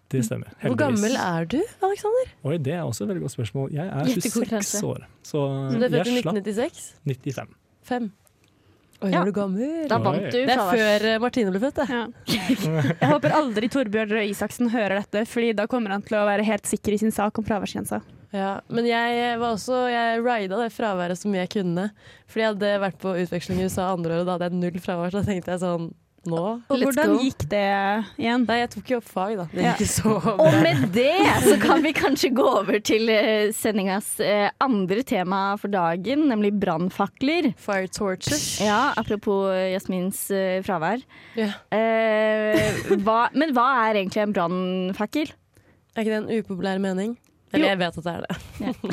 Speaker 4: Det stemmer.
Speaker 3: Hvor gammel er du, Aleksander?
Speaker 4: Oi, det er også et veldig godt spørsmål. Jeg er
Speaker 1: Gjettekort,
Speaker 4: 26 år, så
Speaker 3: Du er født i
Speaker 4: jeg slapp
Speaker 3: 1996?
Speaker 4: 95.
Speaker 3: Fem. Oi,
Speaker 1: Ja.
Speaker 3: er du gammel?
Speaker 1: Da vant du
Speaker 3: Det er
Speaker 1: fravær.
Speaker 3: før eh, Martine ble født, det.
Speaker 2: Jeg håper aldri Torbjørn Røe Isaksen hører dette, Fordi da kommer han til å være helt sikker i sin sak om fraværsgrensa.
Speaker 3: Ja, men jeg var også Jeg rida det fraværet så mye jeg kunne. Fordi jeg hadde vært på utveksling i USA andre året, og da hadde jeg null fravær. Så da tenkte jeg sånn Nå?
Speaker 2: Og
Speaker 1: Let's
Speaker 2: hvordan
Speaker 1: go.
Speaker 2: gikk det igjen?
Speaker 3: Nei, jeg tok jo opp fag, da. Det
Speaker 2: Ja.
Speaker 3: gikk [laughs] ikke så
Speaker 1: Og med det så kan vi kanskje gå over til eh, sendingas eh, andre tema for dagen, nemlig brannfakler.
Speaker 3: Fire torture.
Speaker 1: Ja, apropos eh, Jasmins eh, fravær.
Speaker 3: Ja.
Speaker 1: Eh, hva, men hva er egentlig en brannfakkel?
Speaker 3: Er ikke det en upopulær mening?
Speaker 1: Jo.
Speaker 3: Eller jeg vet at det er det.
Speaker 2: Det, er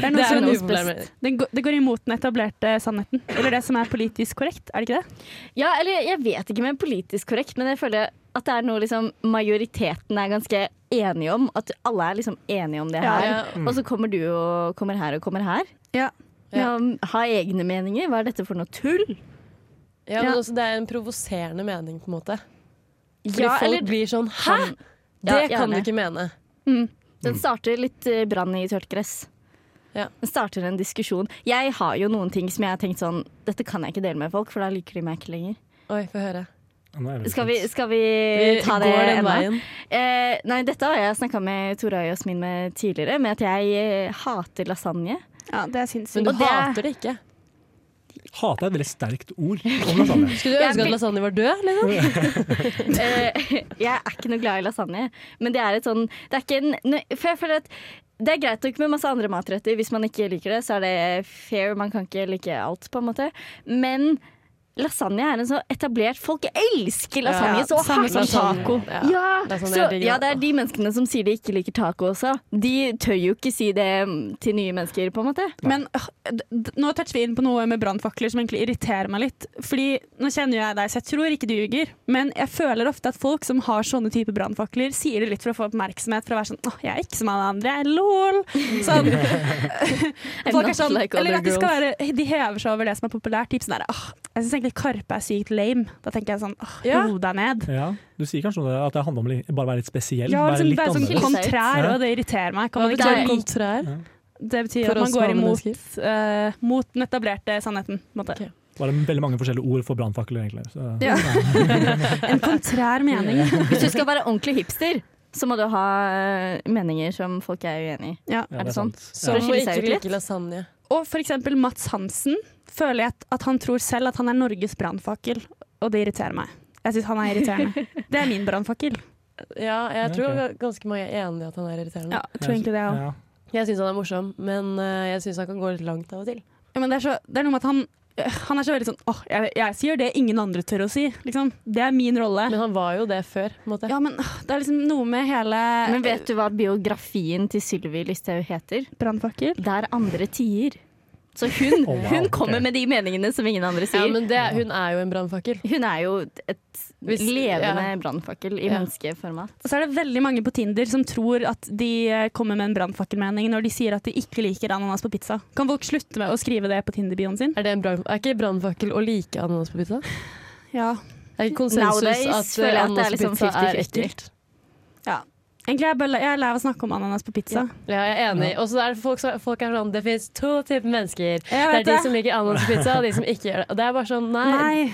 Speaker 3: Det
Speaker 2: noe
Speaker 3: er
Speaker 2: som,
Speaker 3: en upopulær mening.
Speaker 2: det, går, det går imot den etablerte sannheten. Eller det som er politisk korrekt, er det ikke det?
Speaker 1: Ja, eller jeg vet ikke med politisk korrekt, men jeg føler at det er noe liksom majoriteten er ganske enige om. At alle er liksom enige om det
Speaker 2: Ja,
Speaker 1: her.
Speaker 3: ja.
Speaker 1: Og så kommer du og kommer her og kommer her.
Speaker 2: Ja.
Speaker 1: Med å ha egne meninger. Hva er dette for noe tull?
Speaker 3: Ja, men
Speaker 1: Ja.
Speaker 3: også det er en provoserende mening, på en måte. Fordi
Speaker 1: Ja,
Speaker 3: folk
Speaker 1: eller-
Speaker 3: blir sånn Hæ! Det
Speaker 1: Ja,
Speaker 3: kan du
Speaker 1: gjerne.
Speaker 3: ikke mene.
Speaker 1: Den starter litt eh, brann i tørt gress.
Speaker 3: Ja.
Speaker 1: Den starter en diskusjon. Jeg har jo noen ting som jeg har tenkt sånn Dette kan jeg ikke dele med folk, for da liker de meg ikke lenger.
Speaker 3: Oi, få høre.
Speaker 4: Nå er jeg veldig
Speaker 1: Skal vi,
Speaker 4: spent.
Speaker 1: skal vi Eh, ta det
Speaker 3: går den
Speaker 1: ennå?
Speaker 3: veien.
Speaker 1: Eh, nei, dette har jeg snakka med Tora og Jasmin med tidligere, med at jeg eh, hater lasagne.
Speaker 2: Ja, det er
Speaker 3: Men du
Speaker 1: Og det-
Speaker 3: hater det ikke.
Speaker 4: Hate er et veldig sterkt ord om lasagne.
Speaker 3: Skulle du
Speaker 1: Jeg
Speaker 3: ønske
Speaker 1: vil-
Speaker 3: at lasagne var død? Liksom?
Speaker 1: Eh, jeg er ikke noe glad i lasagne, men det er et sånn Det er ikke en nø- For jeg føler at det er greit nok med masse andre matretter. Hvis man ikke liker det, så er det fair. Man kan ikke like alt, på en måte. Men lasagne er en så etablert Folk elsker lasagne så
Speaker 2: samme
Speaker 1: hardt!
Speaker 2: som
Speaker 3: Lasagne.
Speaker 2: taco. Sånn
Speaker 3: Ja.
Speaker 1: Ja,
Speaker 3: Lasagne
Speaker 1: så,
Speaker 3: er digg,
Speaker 1: ja, det
Speaker 3: da.
Speaker 1: er sånn de menneskene som sier de ikke liker taco også. De tør jo ikke si det mm, til nye mennesker, på en måte.
Speaker 2: Men øh, d- d- nå toucher vi inn på noe med brannfakler som egentlig irriterer meg litt. Fordi nå kjenner jo jeg deg, så jeg tror ikke du ljuger. Men jeg føler ofte at folk som har sånne type brannfakler, sier det litt for å få oppmerksomhet. For å være sånn åh, jeg er ikke som alle andre, jeg er lol. Sånn. folk
Speaker 1: not
Speaker 2: er sånn
Speaker 1: like other
Speaker 2: eller at de, skal være, de hever seg over det som er populært. Typ sånn der, åh, jeg syns egentlig Karpe er sykt lame. Da tenker jeg sånn åh,
Speaker 3: Ja.
Speaker 2: ro deg ned.
Speaker 4: Ja, du sier kanskje noe om det, at det handler om li- bare å være litt spesiell?
Speaker 2: Ja,
Speaker 4: være
Speaker 2: liksom,
Speaker 4: litt
Speaker 2: det er sånn
Speaker 4: annerledes.
Speaker 1: annerledes.
Speaker 2: kontrær, og det irriterer meg. Kan
Speaker 3: Hva
Speaker 2: man ikke
Speaker 3: betyr
Speaker 1: Nei.
Speaker 3: kontrær?
Speaker 2: Det betyr
Speaker 3: For
Speaker 2: at man
Speaker 3: oss
Speaker 2: går
Speaker 3: vanlige
Speaker 2: imot, eh, mot den etablerte sannheten. på en Måte.
Speaker 3: Ok.
Speaker 4: Det var veldig mange forskjellige ord for brannfakler, egentlig. Så,
Speaker 2: Ja. en kontrær mening.
Speaker 1: Hvis du skal være ordentlig hipster, så må du ha eh, meninger som folk er uenig i.
Speaker 2: Ja.
Speaker 4: ja,
Speaker 1: Er det sånn?
Speaker 4: sant.
Speaker 3: Som
Speaker 1: det
Speaker 3: å
Speaker 1: skiller
Speaker 3: ikke
Speaker 1: seg ut litt.
Speaker 3: like lasagne.
Speaker 2: Og for eksempel Mats Hansen føler jeg at, at han tror selv at han er Norges brannfakkel, og det irriterer meg. Jeg syns han er irriterende. Det er min brannfakkel.
Speaker 3: Ja,
Speaker 4: Ja,
Speaker 3: jeg tror
Speaker 4: ok.
Speaker 3: ganske mange er enig i at han er irriterende.
Speaker 2: Ja, jeg tror egentlig det òg.
Speaker 4: Ja.
Speaker 3: Jeg syns han er morsom, men eh, jeg syns han kan gå litt langt av og til.
Speaker 2: Ja, men det er, så, det er noe med at han øh, han er så veldig sånn åh, jeg, jeg sier det ingen andre tør å si. Liksom. Det er min rolle.
Speaker 3: Men han var jo det før, på en måte.
Speaker 2: Ja, men øh, det er liksom noe med hele
Speaker 1: Men vet du hva biografien til Sylvi Listhaug heter?
Speaker 2: Brannfakkel.
Speaker 1: Der andre tier. Så hun,
Speaker 4: Oh, wow,
Speaker 1: hun kommer
Speaker 4: ok.
Speaker 1: med de meningene som ingen andre
Speaker 3: Ja,
Speaker 1: sier.
Speaker 3: men det, hun er jo en brannfakkel.
Speaker 1: hun er jo et
Speaker 3: Hvis-
Speaker 1: levende
Speaker 3: ja.
Speaker 1: brannfakkel i
Speaker 3: Ja.
Speaker 1: menneskeformat.
Speaker 2: Og så er det veldig mange på Tinder som tror at de øh, kommer med en brannfakkelmening når de sier at de ikke liker ananas på pizza. Kan folk slutte med å skrive det på Tinder-bioen sin?
Speaker 3: Er, det en brann, er ikke brannfakkel å like ananas på pizza?
Speaker 2: Ja.
Speaker 3: Er ikke konsensus
Speaker 1: Nowadays
Speaker 3: at
Speaker 1: føler jeg at det
Speaker 3: eh,
Speaker 1: er
Speaker 3: ananas på
Speaker 1: liksom
Speaker 3: pizza er
Speaker 1: 50-50.
Speaker 3: ekkelt?
Speaker 2: Egentlig er jeg, bare, jeg er lei av å snakke om ananas på pizza.
Speaker 3: Ja, jeg er enig. Og så er det folk, som- folk er sånn Det fins to typer mennesker.
Speaker 2: Jeg
Speaker 3: Det er
Speaker 2: vet
Speaker 3: de som liker ananas på pizza, og de som ikke gjør det. Og det er bare sånn, nei.
Speaker 2: Nei,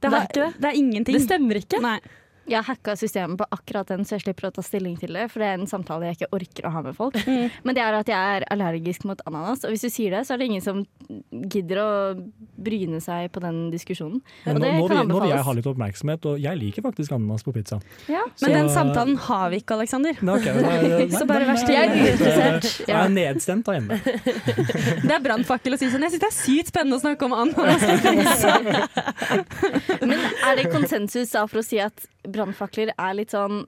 Speaker 2: det,
Speaker 3: er
Speaker 2: har,
Speaker 3: ikke det.
Speaker 2: det er ingenting.
Speaker 3: Det stemmer ikke.
Speaker 2: Nei.
Speaker 1: Jeg har hacka systemet på akkurat den, så jeg slipper å ta stilling til det. For det er en samtale jeg ikke orker å ha med folk. Men det er at jeg er allergisk mot ananas, og hvis du sier det, så er det ingen som gidder å bryne seg på den diskusjonen. Og
Speaker 4: Men nå,
Speaker 1: det
Speaker 4: nå,
Speaker 1: kan
Speaker 4: vil, nå vil jeg ha
Speaker 1: anbefales.
Speaker 4: litt oppmerksomhet, og jeg liker faktisk ananas på pizza.
Speaker 1: Ja.
Speaker 2: Men den
Speaker 4: Så-
Speaker 2: samtalen har vi ikke, Aleksander.
Speaker 4: Nei, ok, nei, nei,
Speaker 2: Så bare
Speaker 4: nei,
Speaker 2: vær
Speaker 4: nei,
Speaker 2: stille.
Speaker 4: nei,
Speaker 1: Jeg er uinteressert,
Speaker 4: Jeg er nedstemt der hjemme.
Speaker 2: Det er brannfakkel å si sånn. Jeg syns det er sykt spennende å snakke om ananas.
Speaker 1: Men er det konsensus da for å si at brannfakler er litt sånn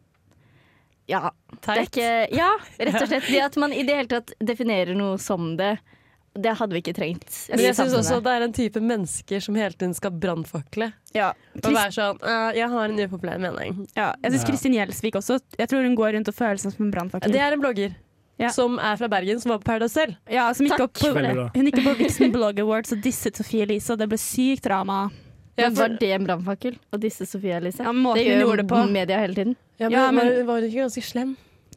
Speaker 1: ja, det er ikke, ja, rett og slett. Det at man i det hele tatt definerer noe som det, det hadde vi ikke trengt.
Speaker 3: Men jeg syns også det er en type mennesker som hele tiden skal brannfakle.
Speaker 2: [laughs] Ja,
Speaker 3: Og være sånn «Eh, Jeg har en upopulær mening.
Speaker 2: jeg syns Kristin Gjelsvik også. Jeg tror hun går rundt og føler seg som en brannfakkel.
Speaker 3: Det er en blogger
Speaker 2: Ja.
Speaker 3: som er fra Bergen, som var på Paradise selv.
Speaker 2: Ja, som gikk opp på,
Speaker 4: Veldig bra.
Speaker 2: hun gikk opp på Vixen Blog Awards og disset Sophie Elise, og det ble sykt drama.
Speaker 3: Ja,
Speaker 1: Men
Speaker 3: for-
Speaker 1: var det en brannfakkel? Og disse Sofie Elise?
Speaker 2: Ja, måten
Speaker 1: det
Speaker 2: hun
Speaker 1: gjør
Speaker 2: gjorde det på.
Speaker 1: media hele tiden.
Speaker 3: Ja,
Speaker 2: Ja, men-
Speaker 3: var- var hun ikke ganske slem?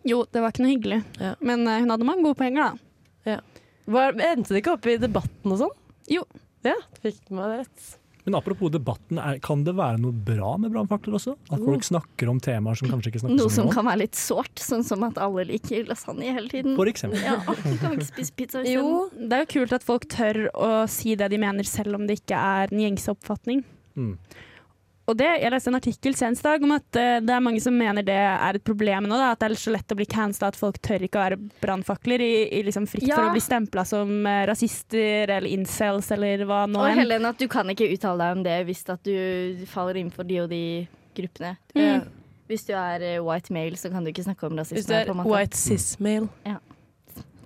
Speaker 2: Jo, det var ikke noe hyggelig,
Speaker 3: Ja.
Speaker 2: men eh, hun hadde mange gode poenger, da.
Speaker 3: Var, endte det ikke opp i debatten og sånn?
Speaker 2: Jo.
Speaker 3: Ja, fikk meg det rett.
Speaker 4: Men apropos debatten, er, kan det være noe bra med brannfakler også? At folk snakker om temaer som kanskje ikke
Speaker 1: Noe
Speaker 4: snakkes
Speaker 1: som
Speaker 4: om nå?
Speaker 1: kan være litt sårt, sånn som at alle liker lasagne hele tiden.
Speaker 4: For eksempel.
Speaker 1: Ja, å, du kan ikke spise pizza hvis
Speaker 2: Jo, det er jo kult at folk tør å si det de mener, selv om det ikke er den gjengse oppfatning.
Speaker 4: Mm.
Speaker 2: Og det, Jeg leste en artikkel senest i dag om at eh, det er mange som mener det er et problem nå. Da, at det er så lett å bli cancela at folk tør ikke å være brannfakler i, i liksom frykt
Speaker 1: Ja.
Speaker 2: for å bli stempla som eh, rasister eller incels eller hva nå
Speaker 1: Og
Speaker 2: enn.
Speaker 1: Helen, at du kan ikke uttale deg om det hvis at du faller innenfor de og de gruppene.
Speaker 2: Mm.
Speaker 1: Eh, Hvis du er eh, white male, så kan du ikke snakke om rasisme.
Speaker 3: Hvis du er
Speaker 1: på en måte.
Speaker 3: white cis-male.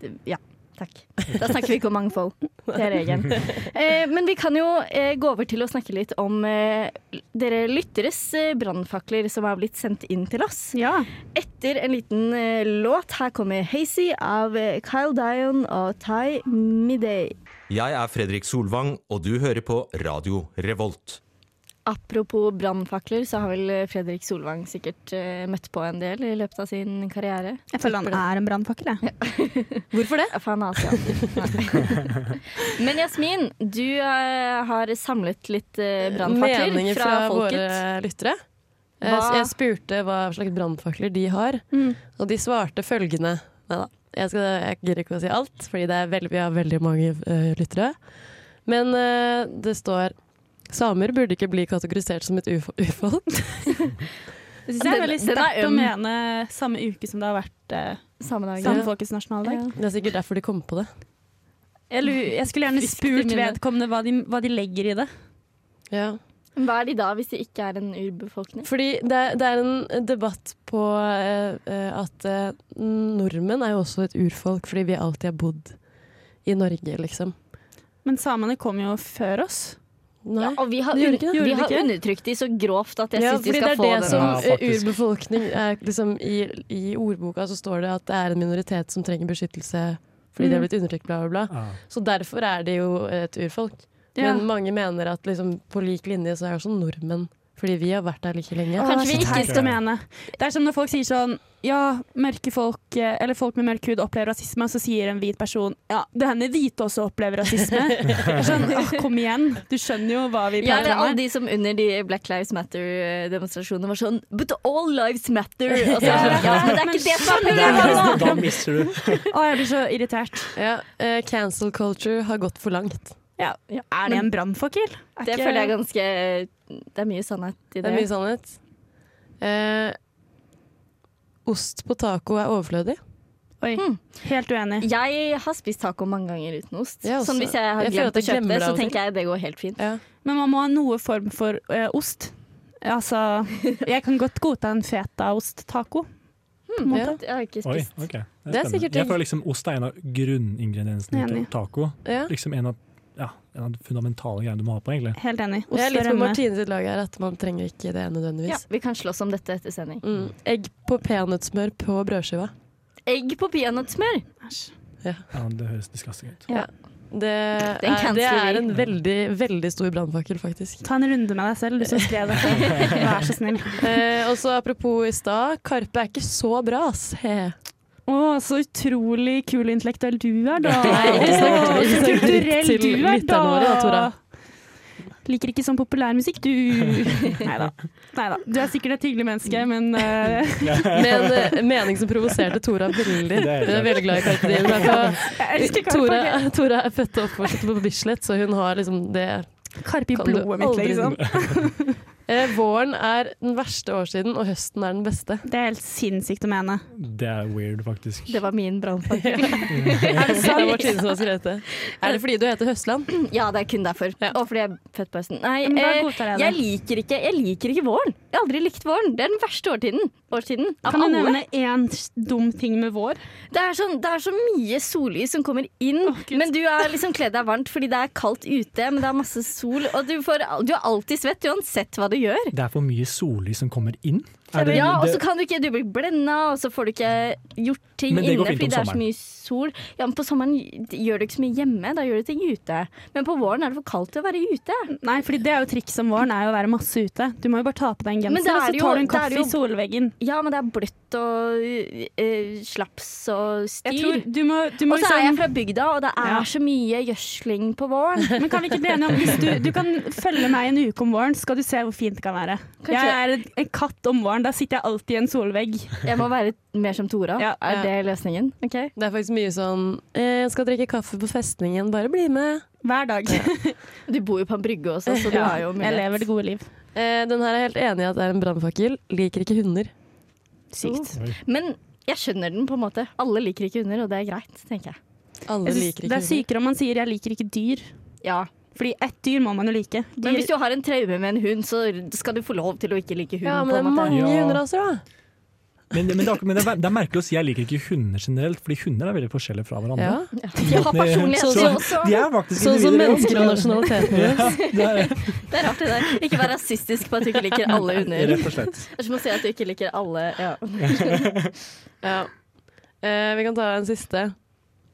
Speaker 1: Det- Ja, takk. Da snakker vi ikke om mangfold. Det er regelen. Eh, men vi kan jo eh, gå over til å snakke litt om eh, dere lytteres eh, brannfakler som har blitt sendt inn til oss.
Speaker 2: Ja.
Speaker 1: Etter en liten eh, låt. Her kommer 'Hazy' av eh, Kyle Dion og Ty Midday.
Speaker 8: Jeg er Fredrik Solvang, og du hører på Radio Revolt.
Speaker 1: Apropos brannfakler, så har vel eh, Fredrik Solvang sikkert eh, møtt på en del i løpet av sin karriere.
Speaker 2: Jeg føler han er en brannfakkel, jeg.
Speaker 1: Hvorfor det? For han er asiat. Men Jasmin, du eh, har samlet litt eh, brannfakler
Speaker 3: Meninger
Speaker 1: fra, folket.
Speaker 3: våre lyttere. Jeg,
Speaker 1: Hva- Mm.
Speaker 3: jeg spurte hva slags brannfakler de har, og de svarte følgende. Neida, Jeg, skal, jeg gidder ikke å si alt, fordi det er veldig, vi har veldig mange eh, lyttere. Men eh, det står Samer burde ikke bli kategorisert som et ufo- [laughs] ufolk.
Speaker 2: Jeg synes det er
Speaker 1: Den-
Speaker 2: veldig
Speaker 1: den er
Speaker 2: sterkt å
Speaker 1: øm.
Speaker 2: mene samme uke som det har vært eh,
Speaker 1: Samme dag.
Speaker 2: Samefolkets nasjonaldag.
Speaker 3: Det er sikkert derfor de kom på det.
Speaker 2: Jeg, lu- jeg skulle gjerne
Speaker 3: Friskt i
Speaker 2: spurt
Speaker 3: minnet.
Speaker 2: vedkommende hva de, hva de legger i det.
Speaker 3: Ja.
Speaker 1: Hva er de da, hvis de ikke er en urbefolkning?
Speaker 3: Fordi det, er- det er en debatt på eh, eh, at eh, nordmenn er jo også et urfolk, fordi vi alltid har bodd i Norge, liksom.
Speaker 2: Men samene kom jo før oss.
Speaker 3: Nei.
Speaker 1: Ja, og vi har,
Speaker 3: Det gjør
Speaker 1: un
Speaker 3: ikke det.
Speaker 1: vi
Speaker 3: Gjorde
Speaker 1: har
Speaker 3: det ikke?
Speaker 1: undertrykt de så grovt at jeg
Speaker 3: ja,
Speaker 1: synes de
Speaker 3: fordi
Speaker 1: skal
Speaker 3: det er
Speaker 1: få
Speaker 3: det
Speaker 1: den.
Speaker 3: som
Speaker 4: Ja,
Speaker 3: eh,
Speaker 4: faktisk.
Speaker 3: urbefolkning er liksom i, I ordboka så står det at det er en minoritet som trenger beskyttelse
Speaker 1: Mm.
Speaker 3: fordi de har blitt undertrykt, bla, bla, bla.
Speaker 4: Ja.
Speaker 3: Så derfor er det jo et urfolk.
Speaker 2: Ja.
Speaker 3: Men mange mener at liksom, på lik linje så er det også nordmenn, fordi vi har vært der like lenge.
Speaker 2: Åh,
Speaker 1: Kanskje vi
Speaker 2: det er så
Speaker 1: ikke
Speaker 2: teit
Speaker 4: skal-
Speaker 2: å mene. Det er som når folk sier sånn Ja, mørke folk eh, Eller folk med mørk hud opplever rasisme, og så sier en hvit person Ja, det hender hvite også opplever [laughs] rasisme. Det er sånn, «Åh, kom igjen, du skjønner jo hva vi
Speaker 1: Ja,
Speaker 2: prater
Speaker 1: det er
Speaker 2: om
Speaker 1: alle
Speaker 2: her.
Speaker 1: de som under de Black Lives Matter-demonstrasjonene var sånn But all lives matter! Og så er det sånn, ja, men det er ikke det som er
Speaker 4: Da,
Speaker 1: problemet!
Speaker 4: da mister du.
Speaker 2: Å, jeg blir så irritert.
Speaker 3: Ja, eh, cancel culture har gått for langt.
Speaker 2: Ja, er det en brannfakkel? Er
Speaker 1: Det
Speaker 2: ikke-
Speaker 1: føler jeg er ganske Det er mye sannhet i
Speaker 3: Det
Speaker 1: det.
Speaker 3: er mye sannhet. Eh, ost på taco er overflødig.
Speaker 2: Oi, helt uenig.
Speaker 1: Jeg har spist taco mange ganger uten ost.
Speaker 3: Jeg også.
Speaker 1: Sånn Hvis jeg har
Speaker 3: Jeg føler
Speaker 1: glemt å
Speaker 3: at jeg
Speaker 1: kjøpe
Speaker 3: glemmer
Speaker 1: det,
Speaker 3: det
Speaker 1: så
Speaker 3: av og til.
Speaker 1: tenker jeg det går helt fint.
Speaker 3: Ja.
Speaker 2: Men man må ha noe form for eh, ost. Altså, jeg kan godt godta en fetaost-taco. på en måte.
Speaker 3: Ja.
Speaker 1: Jeg har ikke
Speaker 4: Oi,
Speaker 1: spist.
Speaker 4: ok.
Speaker 3: Det er sikkert-
Speaker 4: Jeg føler liksom ost er en av grunningrediensene til
Speaker 2: Enig.
Speaker 4: taco.
Speaker 3: Ja.
Speaker 4: Liksom en av, ja, en av de fundamentale greiene du må ha på, egentlig.
Speaker 2: Helt enig. Ost
Speaker 3: Jeg er
Speaker 2: og
Speaker 3: litt på
Speaker 2: rømme.
Speaker 3: Martine sitt lag her, at man trenger ikke det
Speaker 1: Ja,
Speaker 3: nødvendigvis.
Speaker 1: vi kan slåss om dette etter sending.
Speaker 3: Mm. Egg på peanøttsmør på brødskiva.
Speaker 1: Egg på peanøttsmør!
Speaker 2: Æsj.
Speaker 4: Ja, det høres disgusting ut.
Speaker 3: Det
Speaker 1: Den
Speaker 3: er, det
Speaker 1: canceler
Speaker 3: er
Speaker 1: vi.
Speaker 3: en veldig, veldig stor brannfakkel, faktisk.
Speaker 2: Ta en runde med deg selv, du som skrev dette. Vær så snill.
Speaker 3: Eh, og så apropos i stad, Karpe er ikke så bra, ass. He.
Speaker 2: Å, så utrolig kul og intellektuell du er, da.
Speaker 3: Nei, vi snakker-
Speaker 2: Å,
Speaker 3: vi
Speaker 2: så
Speaker 3: snakker
Speaker 2: kulturell
Speaker 3: til
Speaker 2: du er, da.
Speaker 3: lytterne våre, da, Tora.
Speaker 2: Liker ikke sånn populærmusikk,
Speaker 1: [laughs]
Speaker 2: du. Nei da. Du er sikkert et hyggelig menneske, men eh,
Speaker 3: Men eh, mening som provoserte Tora veldig.
Speaker 4: [laughs] Det er
Speaker 3: Hun er veldig glad i Carpe Diem. [laughs] Derfor-
Speaker 2: jeg elsker
Speaker 3: Tora,
Speaker 2: Karpe.
Speaker 3: Tora er født og oppvokst på Bislett, så hun har liksom det
Speaker 2: Karpe i
Speaker 3: kan du
Speaker 2: blodet mitt,
Speaker 3: aldri-
Speaker 1: [laughs]
Speaker 2: liksom.
Speaker 3: Eh, våren er den verste årstiden, og høsten er den [laughs] beste.
Speaker 2: Det er helt sinnssykt å mene.
Speaker 4: Det er weird, faktisk.
Speaker 1: Det var min brannfakkel.
Speaker 3: Er det sant? Martine som har skrevet det. Er det fordi du heter Høstland?
Speaker 1: [laughs] Ja, det er kun derfor.
Speaker 3: Ja.
Speaker 1: Og fordi jeg er født på høsten. Nei,
Speaker 2: Men da
Speaker 1: eh,
Speaker 2: godtar jeg det.
Speaker 1: jeg, liker ikke, jeg liker ikke våren. Jeg har aldri likt våren. Det er den verste årtiden. årstiden av
Speaker 2: Kan du
Speaker 1: alle.
Speaker 2: nevne én dum ting med vår?
Speaker 1: Det er, sånn, det er så mye sollys som kommer inn, men du er liksom kledd deg varmt fordi det er kaldt ute, men det er masse sol, og du, får, du er alltid svett uansett hva du gjør.
Speaker 4: Det er for mye sollys som kommer inn. Er det-
Speaker 1: Ja, og så
Speaker 4: det-
Speaker 1: kan du ikke, du blir blenda, og så får du ikke gjort ting
Speaker 4: Men det
Speaker 1: inne
Speaker 4: går fint
Speaker 1: fordi
Speaker 4: om
Speaker 1: det er så
Speaker 4: sommeren.
Speaker 1: mye sol. Ja, men på sommeren gjør du ikke så mye hjemme, da gjør du ting ute. Men på våren er det for kaldt til å være ute.
Speaker 2: Nei, fordi det er jo trikset om våren, er jo å være masse ute. Du må jo bare ta på deg en
Speaker 1: Men det
Speaker 2: genser, og
Speaker 1: er
Speaker 2: så
Speaker 1: jo-
Speaker 2: tar du
Speaker 1: det
Speaker 2: en
Speaker 1: er
Speaker 2: kaffe
Speaker 1: jo-
Speaker 2: i solveggen.
Speaker 1: Ja, men det er bløtt og eh, slaps og
Speaker 2: Jeg
Speaker 1: styr.
Speaker 2: tror du må, du må
Speaker 1: og så er jeg
Speaker 2: liksom
Speaker 1: fra bygda, og det er
Speaker 2: Ja.
Speaker 1: så mye gjødsling på våren. [laughs]
Speaker 2: men kan vi ikke bli enige om hvis du, du kan følge meg en uke om våren, skal du se hvor fint det kan være. Jeg er en, en katt om våren, da sitter jeg alltid i en solvegg.
Speaker 1: Jeg må være mer som Tora.
Speaker 2: Ja,
Speaker 1: er
Speaker 3: ja.
Speaker 1: det løsningen? Ok.
Speaker 3: Det er faktisk mye sånn eh, jeg 'Skal drikke kaffe på festningen, bare bli med'.
Speaker 2: Hver dag.
Speaker 1: Du bor jo på en brygge også, så du
Speaker 2: Ja,
Speaker 1: har jo
Speaker 2: jeg
Speaker 1: mulighet.
Speaker 2: lever det gode liv.
Speaker 3: Eh, den her er jeg helt enig i at det er en brannfakkel. Liker ikke hunder.
Speaker 2: Sykt.
Speaker 1: Men jeg skjønner den på en måte. Alle liker ikke hunder, og det er greit, tenker jeg.
Speaker 3: Alle
Speaker 2: Jeg synes
Speaker 3: liker ikke
Speaker 2: det er
Speaker 3: hunder.
Speaker 2: sykere om man sier 'jeg liker ikke dyr'.
Speaker 1: Ja.
Speaker 2: Fordi ett dyr må man jo like.
Speaker 1: Men hvis du har en traume med en hund, så skal du få lov til å ikke like hund.
Speaker 3: Ja, men
Speaker 1: på
Speaker 3: det
Speaker 1: en
Speaker 3: er
Speaker 1: måte.
Speaker 3: mange
Speaker 4: Ja.
Speaker 3: hunderaser, da.
Speaker 4: Men, men, det, er, men det, er, det er merkelig å si jeg liker ikke hunder generelt, fordi hunder er veldig forskjellige fra hverandre.
Speaker 3: Ja.
Speaker 1: De har personlighet,
Speaker 3: Sånn
Speaker 1: de
Speaker 3: som-
Speaker 1: også.
Speaker 4: De er faktisk
Speaker 3: Sånn som
Speaker 4: individer,
Speaker 3: mennesker og nasjonaliteten [laughs] vår.
Speaker 1: Det er rart det der. Ikke vær rasistisk på at du ikke liker alle
Speaker 4: ja.
Speaker 1: hunder.
Speaker 4: [laughs] Rett og slett.
Speaker 1: Det er som å si at du ikke liker alle ja.
Speaker 3: Ja. Eh, vi kan ta en siste,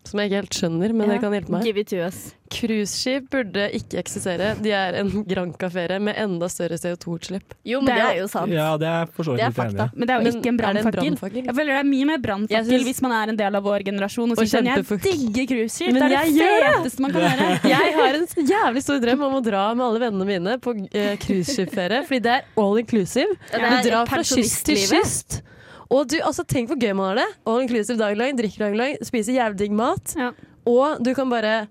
Speaker 3: som jeg ikke helt skjønner, men
Speaker 2: Ja.
Speaker 3: dere kan hjelpe meg.
Speaker 1: Give it to us.
Speaker 3: Cruiseskip burde ikke eksistere. De er en Granca-ferie med enda større CO2-utslipp.
Speaker 1: Jo, men
Speaker 2: Det er
Speaker 1: det
Speaker 2: jo-
Speaker 1: er jo sant.
Speaker 4: Ja, det er for så
Speaker 1: Det er
Speaker 4: vidt litt enig.
Speaker 1: fakta.
Speaker 4: i.
Speaker 2: Men det er jo
Speaker 3: Men
Speaker 2: ikke en
Speaker 3: er det en
Speaker 2: brannfakkel.
Speaker 3: brannfakkel?
Speaker 2: Jeg føler det er mye mer
Speaker 3: Jeg
Speaker 2: brannfakkel
Speaker 3: syns-
Speaker 2: hvis man er en del av vår generasjon og
Speaker 3: Og
Speaker 2: sier sånn 'jeg
Speaker 3: kjempefuck».
Speaker 2: digger cruiseskip', det
Speaker 3: Men
Speaker 2: er det
Speaker 3: jeg gjør
Speaker 2: feteste man kan gjøre.
Speaker 3: Jeg har en jævlig stor drøm om å dra med alle vennene mine på eh, cruiseskipferie, fordi det er all inclusive.
Speaker 1: Ja, det
Speaker 3: Du
Speaker 1: er
Speaker 3: drar fra kyst til
Speaker 1: pensjonistlivet.
Speaker 3: kyst. Og du, altså, tenk hvor gøy man har det. All inclusive dagen lang, drikker dagen lang, spiser jævlig digg mat.
Speaker 2: Ja.
Speaker 3: Og du kan bare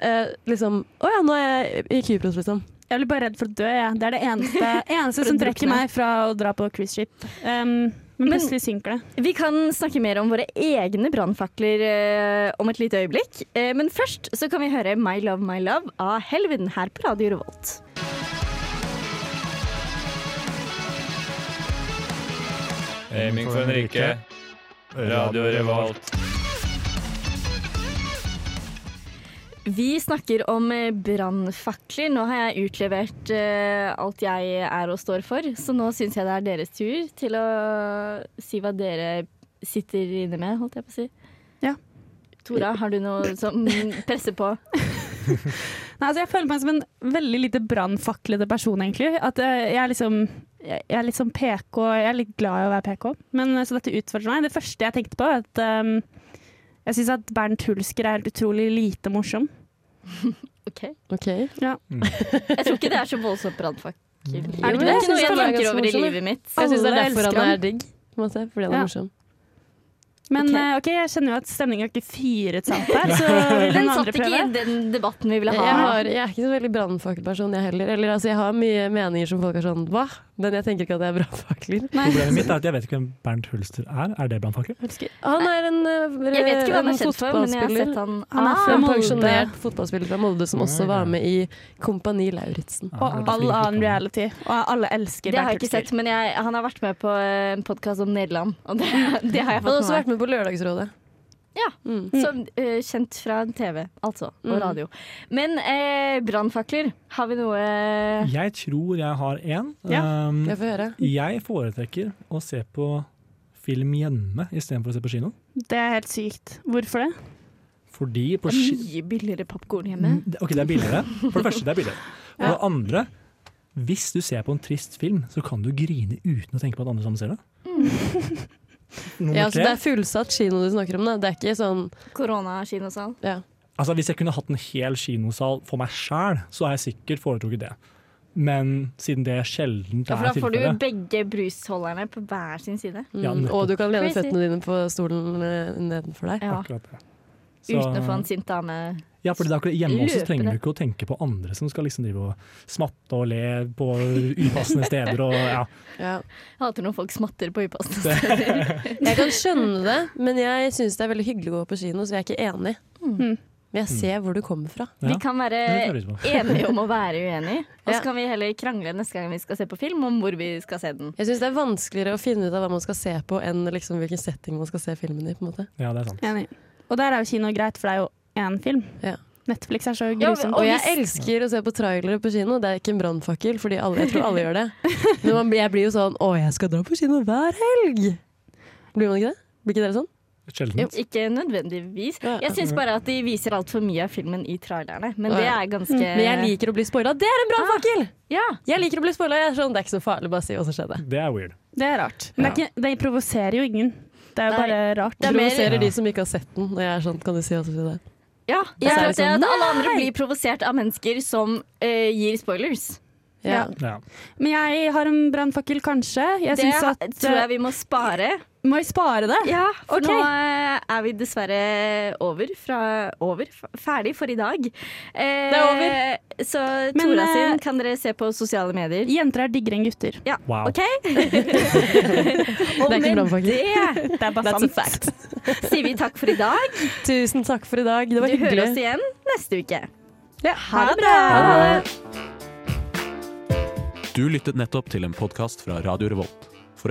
Speaker 3: eh, liksom Å ja, nå er jeg i Kypros, liksom.
Speaker 2: Jeg blir bare redd for å dø, jeg. Det er det eneste, eneste som trekker meg fra å dra på cruiseskip. Um, men
Speaker 1: Men-
Speaker 2: plutselig synker det.
Speaker 1: Vi kan snakke mer om våre egne brannfakler eh, om et lite øyeblikk. Eh, men først så kan vi høre My Love My Love av Helvin her på Radio Revolt.
Speaker 9: Aiming for Henrike. Radio Revolt.
Speaker 1: Vi snakker om eh, brannfakler. Nå har jeg utlevert eh, alt jeg er og står for, så nå syns jeg det er deres tur til å si hva dere sitter inne med, holdt jeg på å si.
Speaker 2: Ja.
Speaker 1: Tora, har du noe som presser på?
Speaker 2: Nei, altså, jeg føler meg som en veldig lite brannfaklede person, egentlig. At eh, jeg er liksom jeg jeg er litt sånn PK, jeg er litt glad i å være PK, men eh, så dette utfordrer meg. Det første jeg tenkte på, er at um, jeg syns at Bernt Hulsker er helt utrolig lite morsom.
Speaker 1: OK.
Speaker 3: Ok.
Speaker 1: Jeg tror ikke det er så voldsomt brannfakkel. Er det ikke det?
Speaker 3: Jo,
Speaker 1: Det
Speaker 3: jeg
Speaker 1: er
Speaker 3: synes
Speaker 1: ikke noe jeg
Speaker 3: det er
Speaker 1: tenker
Speaker 3: ganske
Speaker 1: over i
Speaker 3: morsomt,
Speaker 1: livet mitt.
Speaker 3: Jeg syns det er
Speaker 2: Alle
Speaker 3: derfor
Speaker 2: elsker
Speaker 3: han
Speaker 2: han.
Speaker 3: er digg. på en måte, fordi han er
Speaker 2: Ja.
Speaker 3: morsom.
Speaker 2: Men
Speaker 1: Ok.
Speaker 2: eh, ok, jeg kjenner jo at stemningen har ikke fyret seg opp her,
Speaker 1: [laughs]
Speaker 2: så vil
Speaker 1: Den
Speaker 2: den
Speaker 1: satt
Speaker 2: andre
Speaker 1: ikke
Speaker 2: prøve?
Speaker 1: i den debatten vi ville
Speaker 3: Jeg,
Speaker 1: ha.
Speaker 3: jeg, har, jeg er ikke så veldig brannfakkelperson, jeg heller. Eller altså, jeg har mye meninger som folk er sånn hva? Men jeg tenker ikke at jeg er brannfakler.
Speaker 4: Problemet mitt er at jeg vet ikke hvem Bernt Hulster er. Er det brannfakkel?
Speaker 3: Han er en, eh,
Speaker 1: Jeg vet ikke hva han
Speaker 3: en
Speaker 1: er kjent for, men jeg har
Speaker 3: fotballspiller.
Speaker 1: sett han
Speaker 2: Han er
Speaker 1: Ah,
Speaker 2: fra
Speaker 3: En
Speaker 2: Molde.
Speaker 3: pensjonert fotballspiller fra Molde som også
Speaker 4: Ja, ja.
Speaker 3: var med i Kompani Lauritzen.
Speaker 2: Og all annen reality. Og alle elsker
Speaker 1: Det har jeg
Speaker 2: Bernt
Speaker 1: ikke
Speaker 2: Hulsker.
Speaker 1: sett, men jeg, han har vært med på en podkast om Nederland. Og det, det har jeg
Speaker 3: Han har
Speaker 1: fått
Speaker 3: også
Speaker 1: med meg.
Speaker 3: vært med på Lørdagsrådet.
Speaker 1: Ja.
Speaker 3: Mm.
Speaker 1: Som eh, kjent fra TV, altså. Og
Speaker 3: Mm.
Speaker 1: radio. Men uh, brannfakler, har vi noe
Speaker 4: Jeg tror jeg har én.
Speaker 2: Ja.
Speaker 4: Um,
Speaker 3: Jeg får høre.
Speaker 4: jeg foretrekker å se på film hjemme istedenfor å se på kino.
Speaker 2: Det er helt sykt. Hvorfor det?
Speaker 4: Fordi på
Speaker 1: Det er
Speaker 4: ki-
Speaker 1: Mye billigere popkorn hjemme.
Speaker 4: Mm, det- Ok, det er billigere. For det første, det
Speaker 1: [laughs]
Speaker 4: er billigere. Og det andre, hvis du ser på en trist film, så kan du grine uten å tenke på at andre sammen ser det.
Speaker 3: Ja,
Speaker 1: Mm.
Speaker 4: Nummer
Speaker 3: altså, det
Speaker 4: tre.
Speaker 3: er fullsatt kino du snakker om, da. Det er ikke sånn
Speaker 1: Koronakinosal.
Speaker 3: ja.
Speaker 4: Altså, hvis jeg kunne hatt en hel kinosal for meg sjæl, så har jeg sikkert foretrukket det. Men siden det sjelden
Speaker 1: Ja, for
Speaker 4: er
Speaker 1: da får du
Speaker 4: tilfellet
Speaker 1: begge brusholderne på hver sin side.
Speaker 3: mm.
Speaker 4: Ja, nettopp.
Speaker 3: Og du kan lene
Speaker 1: Crazy.
Speaker 3: føttene dine på stolen eh, nedenfor deg.
Speaker 1: Ja,
Speaker 4: Akkurat det. Så-
Speaker 1: uten å få en sint dame
Speaker 4: Ja, fordi det er akkurat hjemme også så trenger du
Speaker 1: Løpende.
Speaker 4: ikke å tenke på andre som skal liksom drive og smatte og le på upassende steder. Og, ja.
Speaker 3: Ja.
Speaker 1: Jeg hater når folk smatter på upassende steder. [laughs]
Speaker 3: Jeg kan skjønne det, men jeg syns det er veldig hyggelig å gå på kino, så jeg er ikke enig.
Speaker 2: Mm.
Speaker 3: Men jeg ser hvor du kommer fra.
Speaker 4: Ja.
Speaker 1: Vi kan være
Speaker 4: Det høres bra.
Speaker 1: enige om å være
Speaker 4: [laughs]
Speaker 1: uenige, og så
Speaker 3: Ja.
Speaker 1: kan vi heller krangle neste gang vi skal se på film om hvor vi skal se den.
Speaker 3: Jeg syns det er vanskeligere å finne ut av hva man skal se på, enn liksom hvilken setting man skal se filmen i. på en måte.
Speaker 4: ja, det er sant.
Speaker 2: Enig. Og der er jo kino greit, for det er jo én film.
Speaker 3: Ja.
Speaker 2: Netflix er så
Speaker 1: Ja,
Speaker 2: grusom.
Speaker 1: og
Speaker 3: Og
Speaker 1: vi-
Speaker 3: jeg elsker å se på trailere på kino, det er ikke en brannfakkel, fordi alle, jeg tror alle gjør det. Men man, jeg blir jo sånn Å, jeg skal dra på kino hver helg! Blir man ikke det? Blir ikke dere sånn?
Speaker 4: Sjelden.
Speaker 1: Ikke nødvendigvis.
Speaker 3: Ja.
Speaker 1: Jeg syns bare at de viser altfor mye av filmen i trailerne. Men det
Speaker 3: Ja. Mm.
Speaker 1: er ganske
Speaker 3: Men jeg liker å bli spoila. Det er en
Speaker 1: Ah.
Speaker 3: brannfakkel!
Speaker 1: Ja,
Speaker 3: Jeg liker å bli spoila. Jeg er sånn, det er ikke så farlig, bare si hva som skjedde.
Speaker 4: Det er weird.
Speaker 2: Det er rart. Men det, er ikke, det provoserer jo ingen. Det er jo
Speaker 1: Nei.
Speaker 2: bare rart.
Speaker 1: Det er mer-
Speaker 3: Provoserer de som ikke har sett den, og jeg er sånn, kan du si hva som skjedde?
Speaker 1: ja.
Speaker 3: Ja.
Speaker 1: Jeg tror
Speaker 3: Så er det
Speaker 1: det
Speaker 3: sånn,
Speaker 1: at alle andre blir provosert av mennesker som eh, gir spoilers.
Speaker 3: Ja.
Speaker 2: Ja.
Speaker 4: Ja.
Speaker 2: Men jeg har en brannfakkel, kanskje. Jeg
Speaker 1: Det
Speaker 2: synes at, eh,
Speaker 3: eh,
Speaker 1: tror jeg vi må spare.
Speaker 2: Må jeg spare det?
Speaker 1: Ja, for
Speaker 2: ok.
Speaker 1: nå eh, er vi dessverre over. Fra, over f- ferdig for i dag. Eh,
Speaker 3: Det er
Speaker 1: Så
Speaker 2: Men,
Speaker 1: Tora
Speaker 2: eh,
Speaker 1: sin kan dere se på sosiale medier.
Speaker 2: Jenter er diggere enn gutter.
Speaker 1: Ja,
Speaker 4: Wow.
Speaker 1: OK? [laughs]
Speaker 3: Det er ikke en
Speaker 1: Med
Speaker 3: brannfakkel.
Speaker 1: det
Speaker 2: Det er bare
Speaker 3: That's a
Speaker 2: sant.
Speaker 3: fact.
Speaker 1: sier vi takk for i dag.
Speaker 3: Tusen takk for i dag. Det
Speaker 1: Du
Speaker 3: var hyggelig.
Speaker 1: hører oss igjen neste uke.
Speaker 3: Ha det bra!
Speaker 10: Du lyttet nettopp til en podkast fra Radio Revolt. For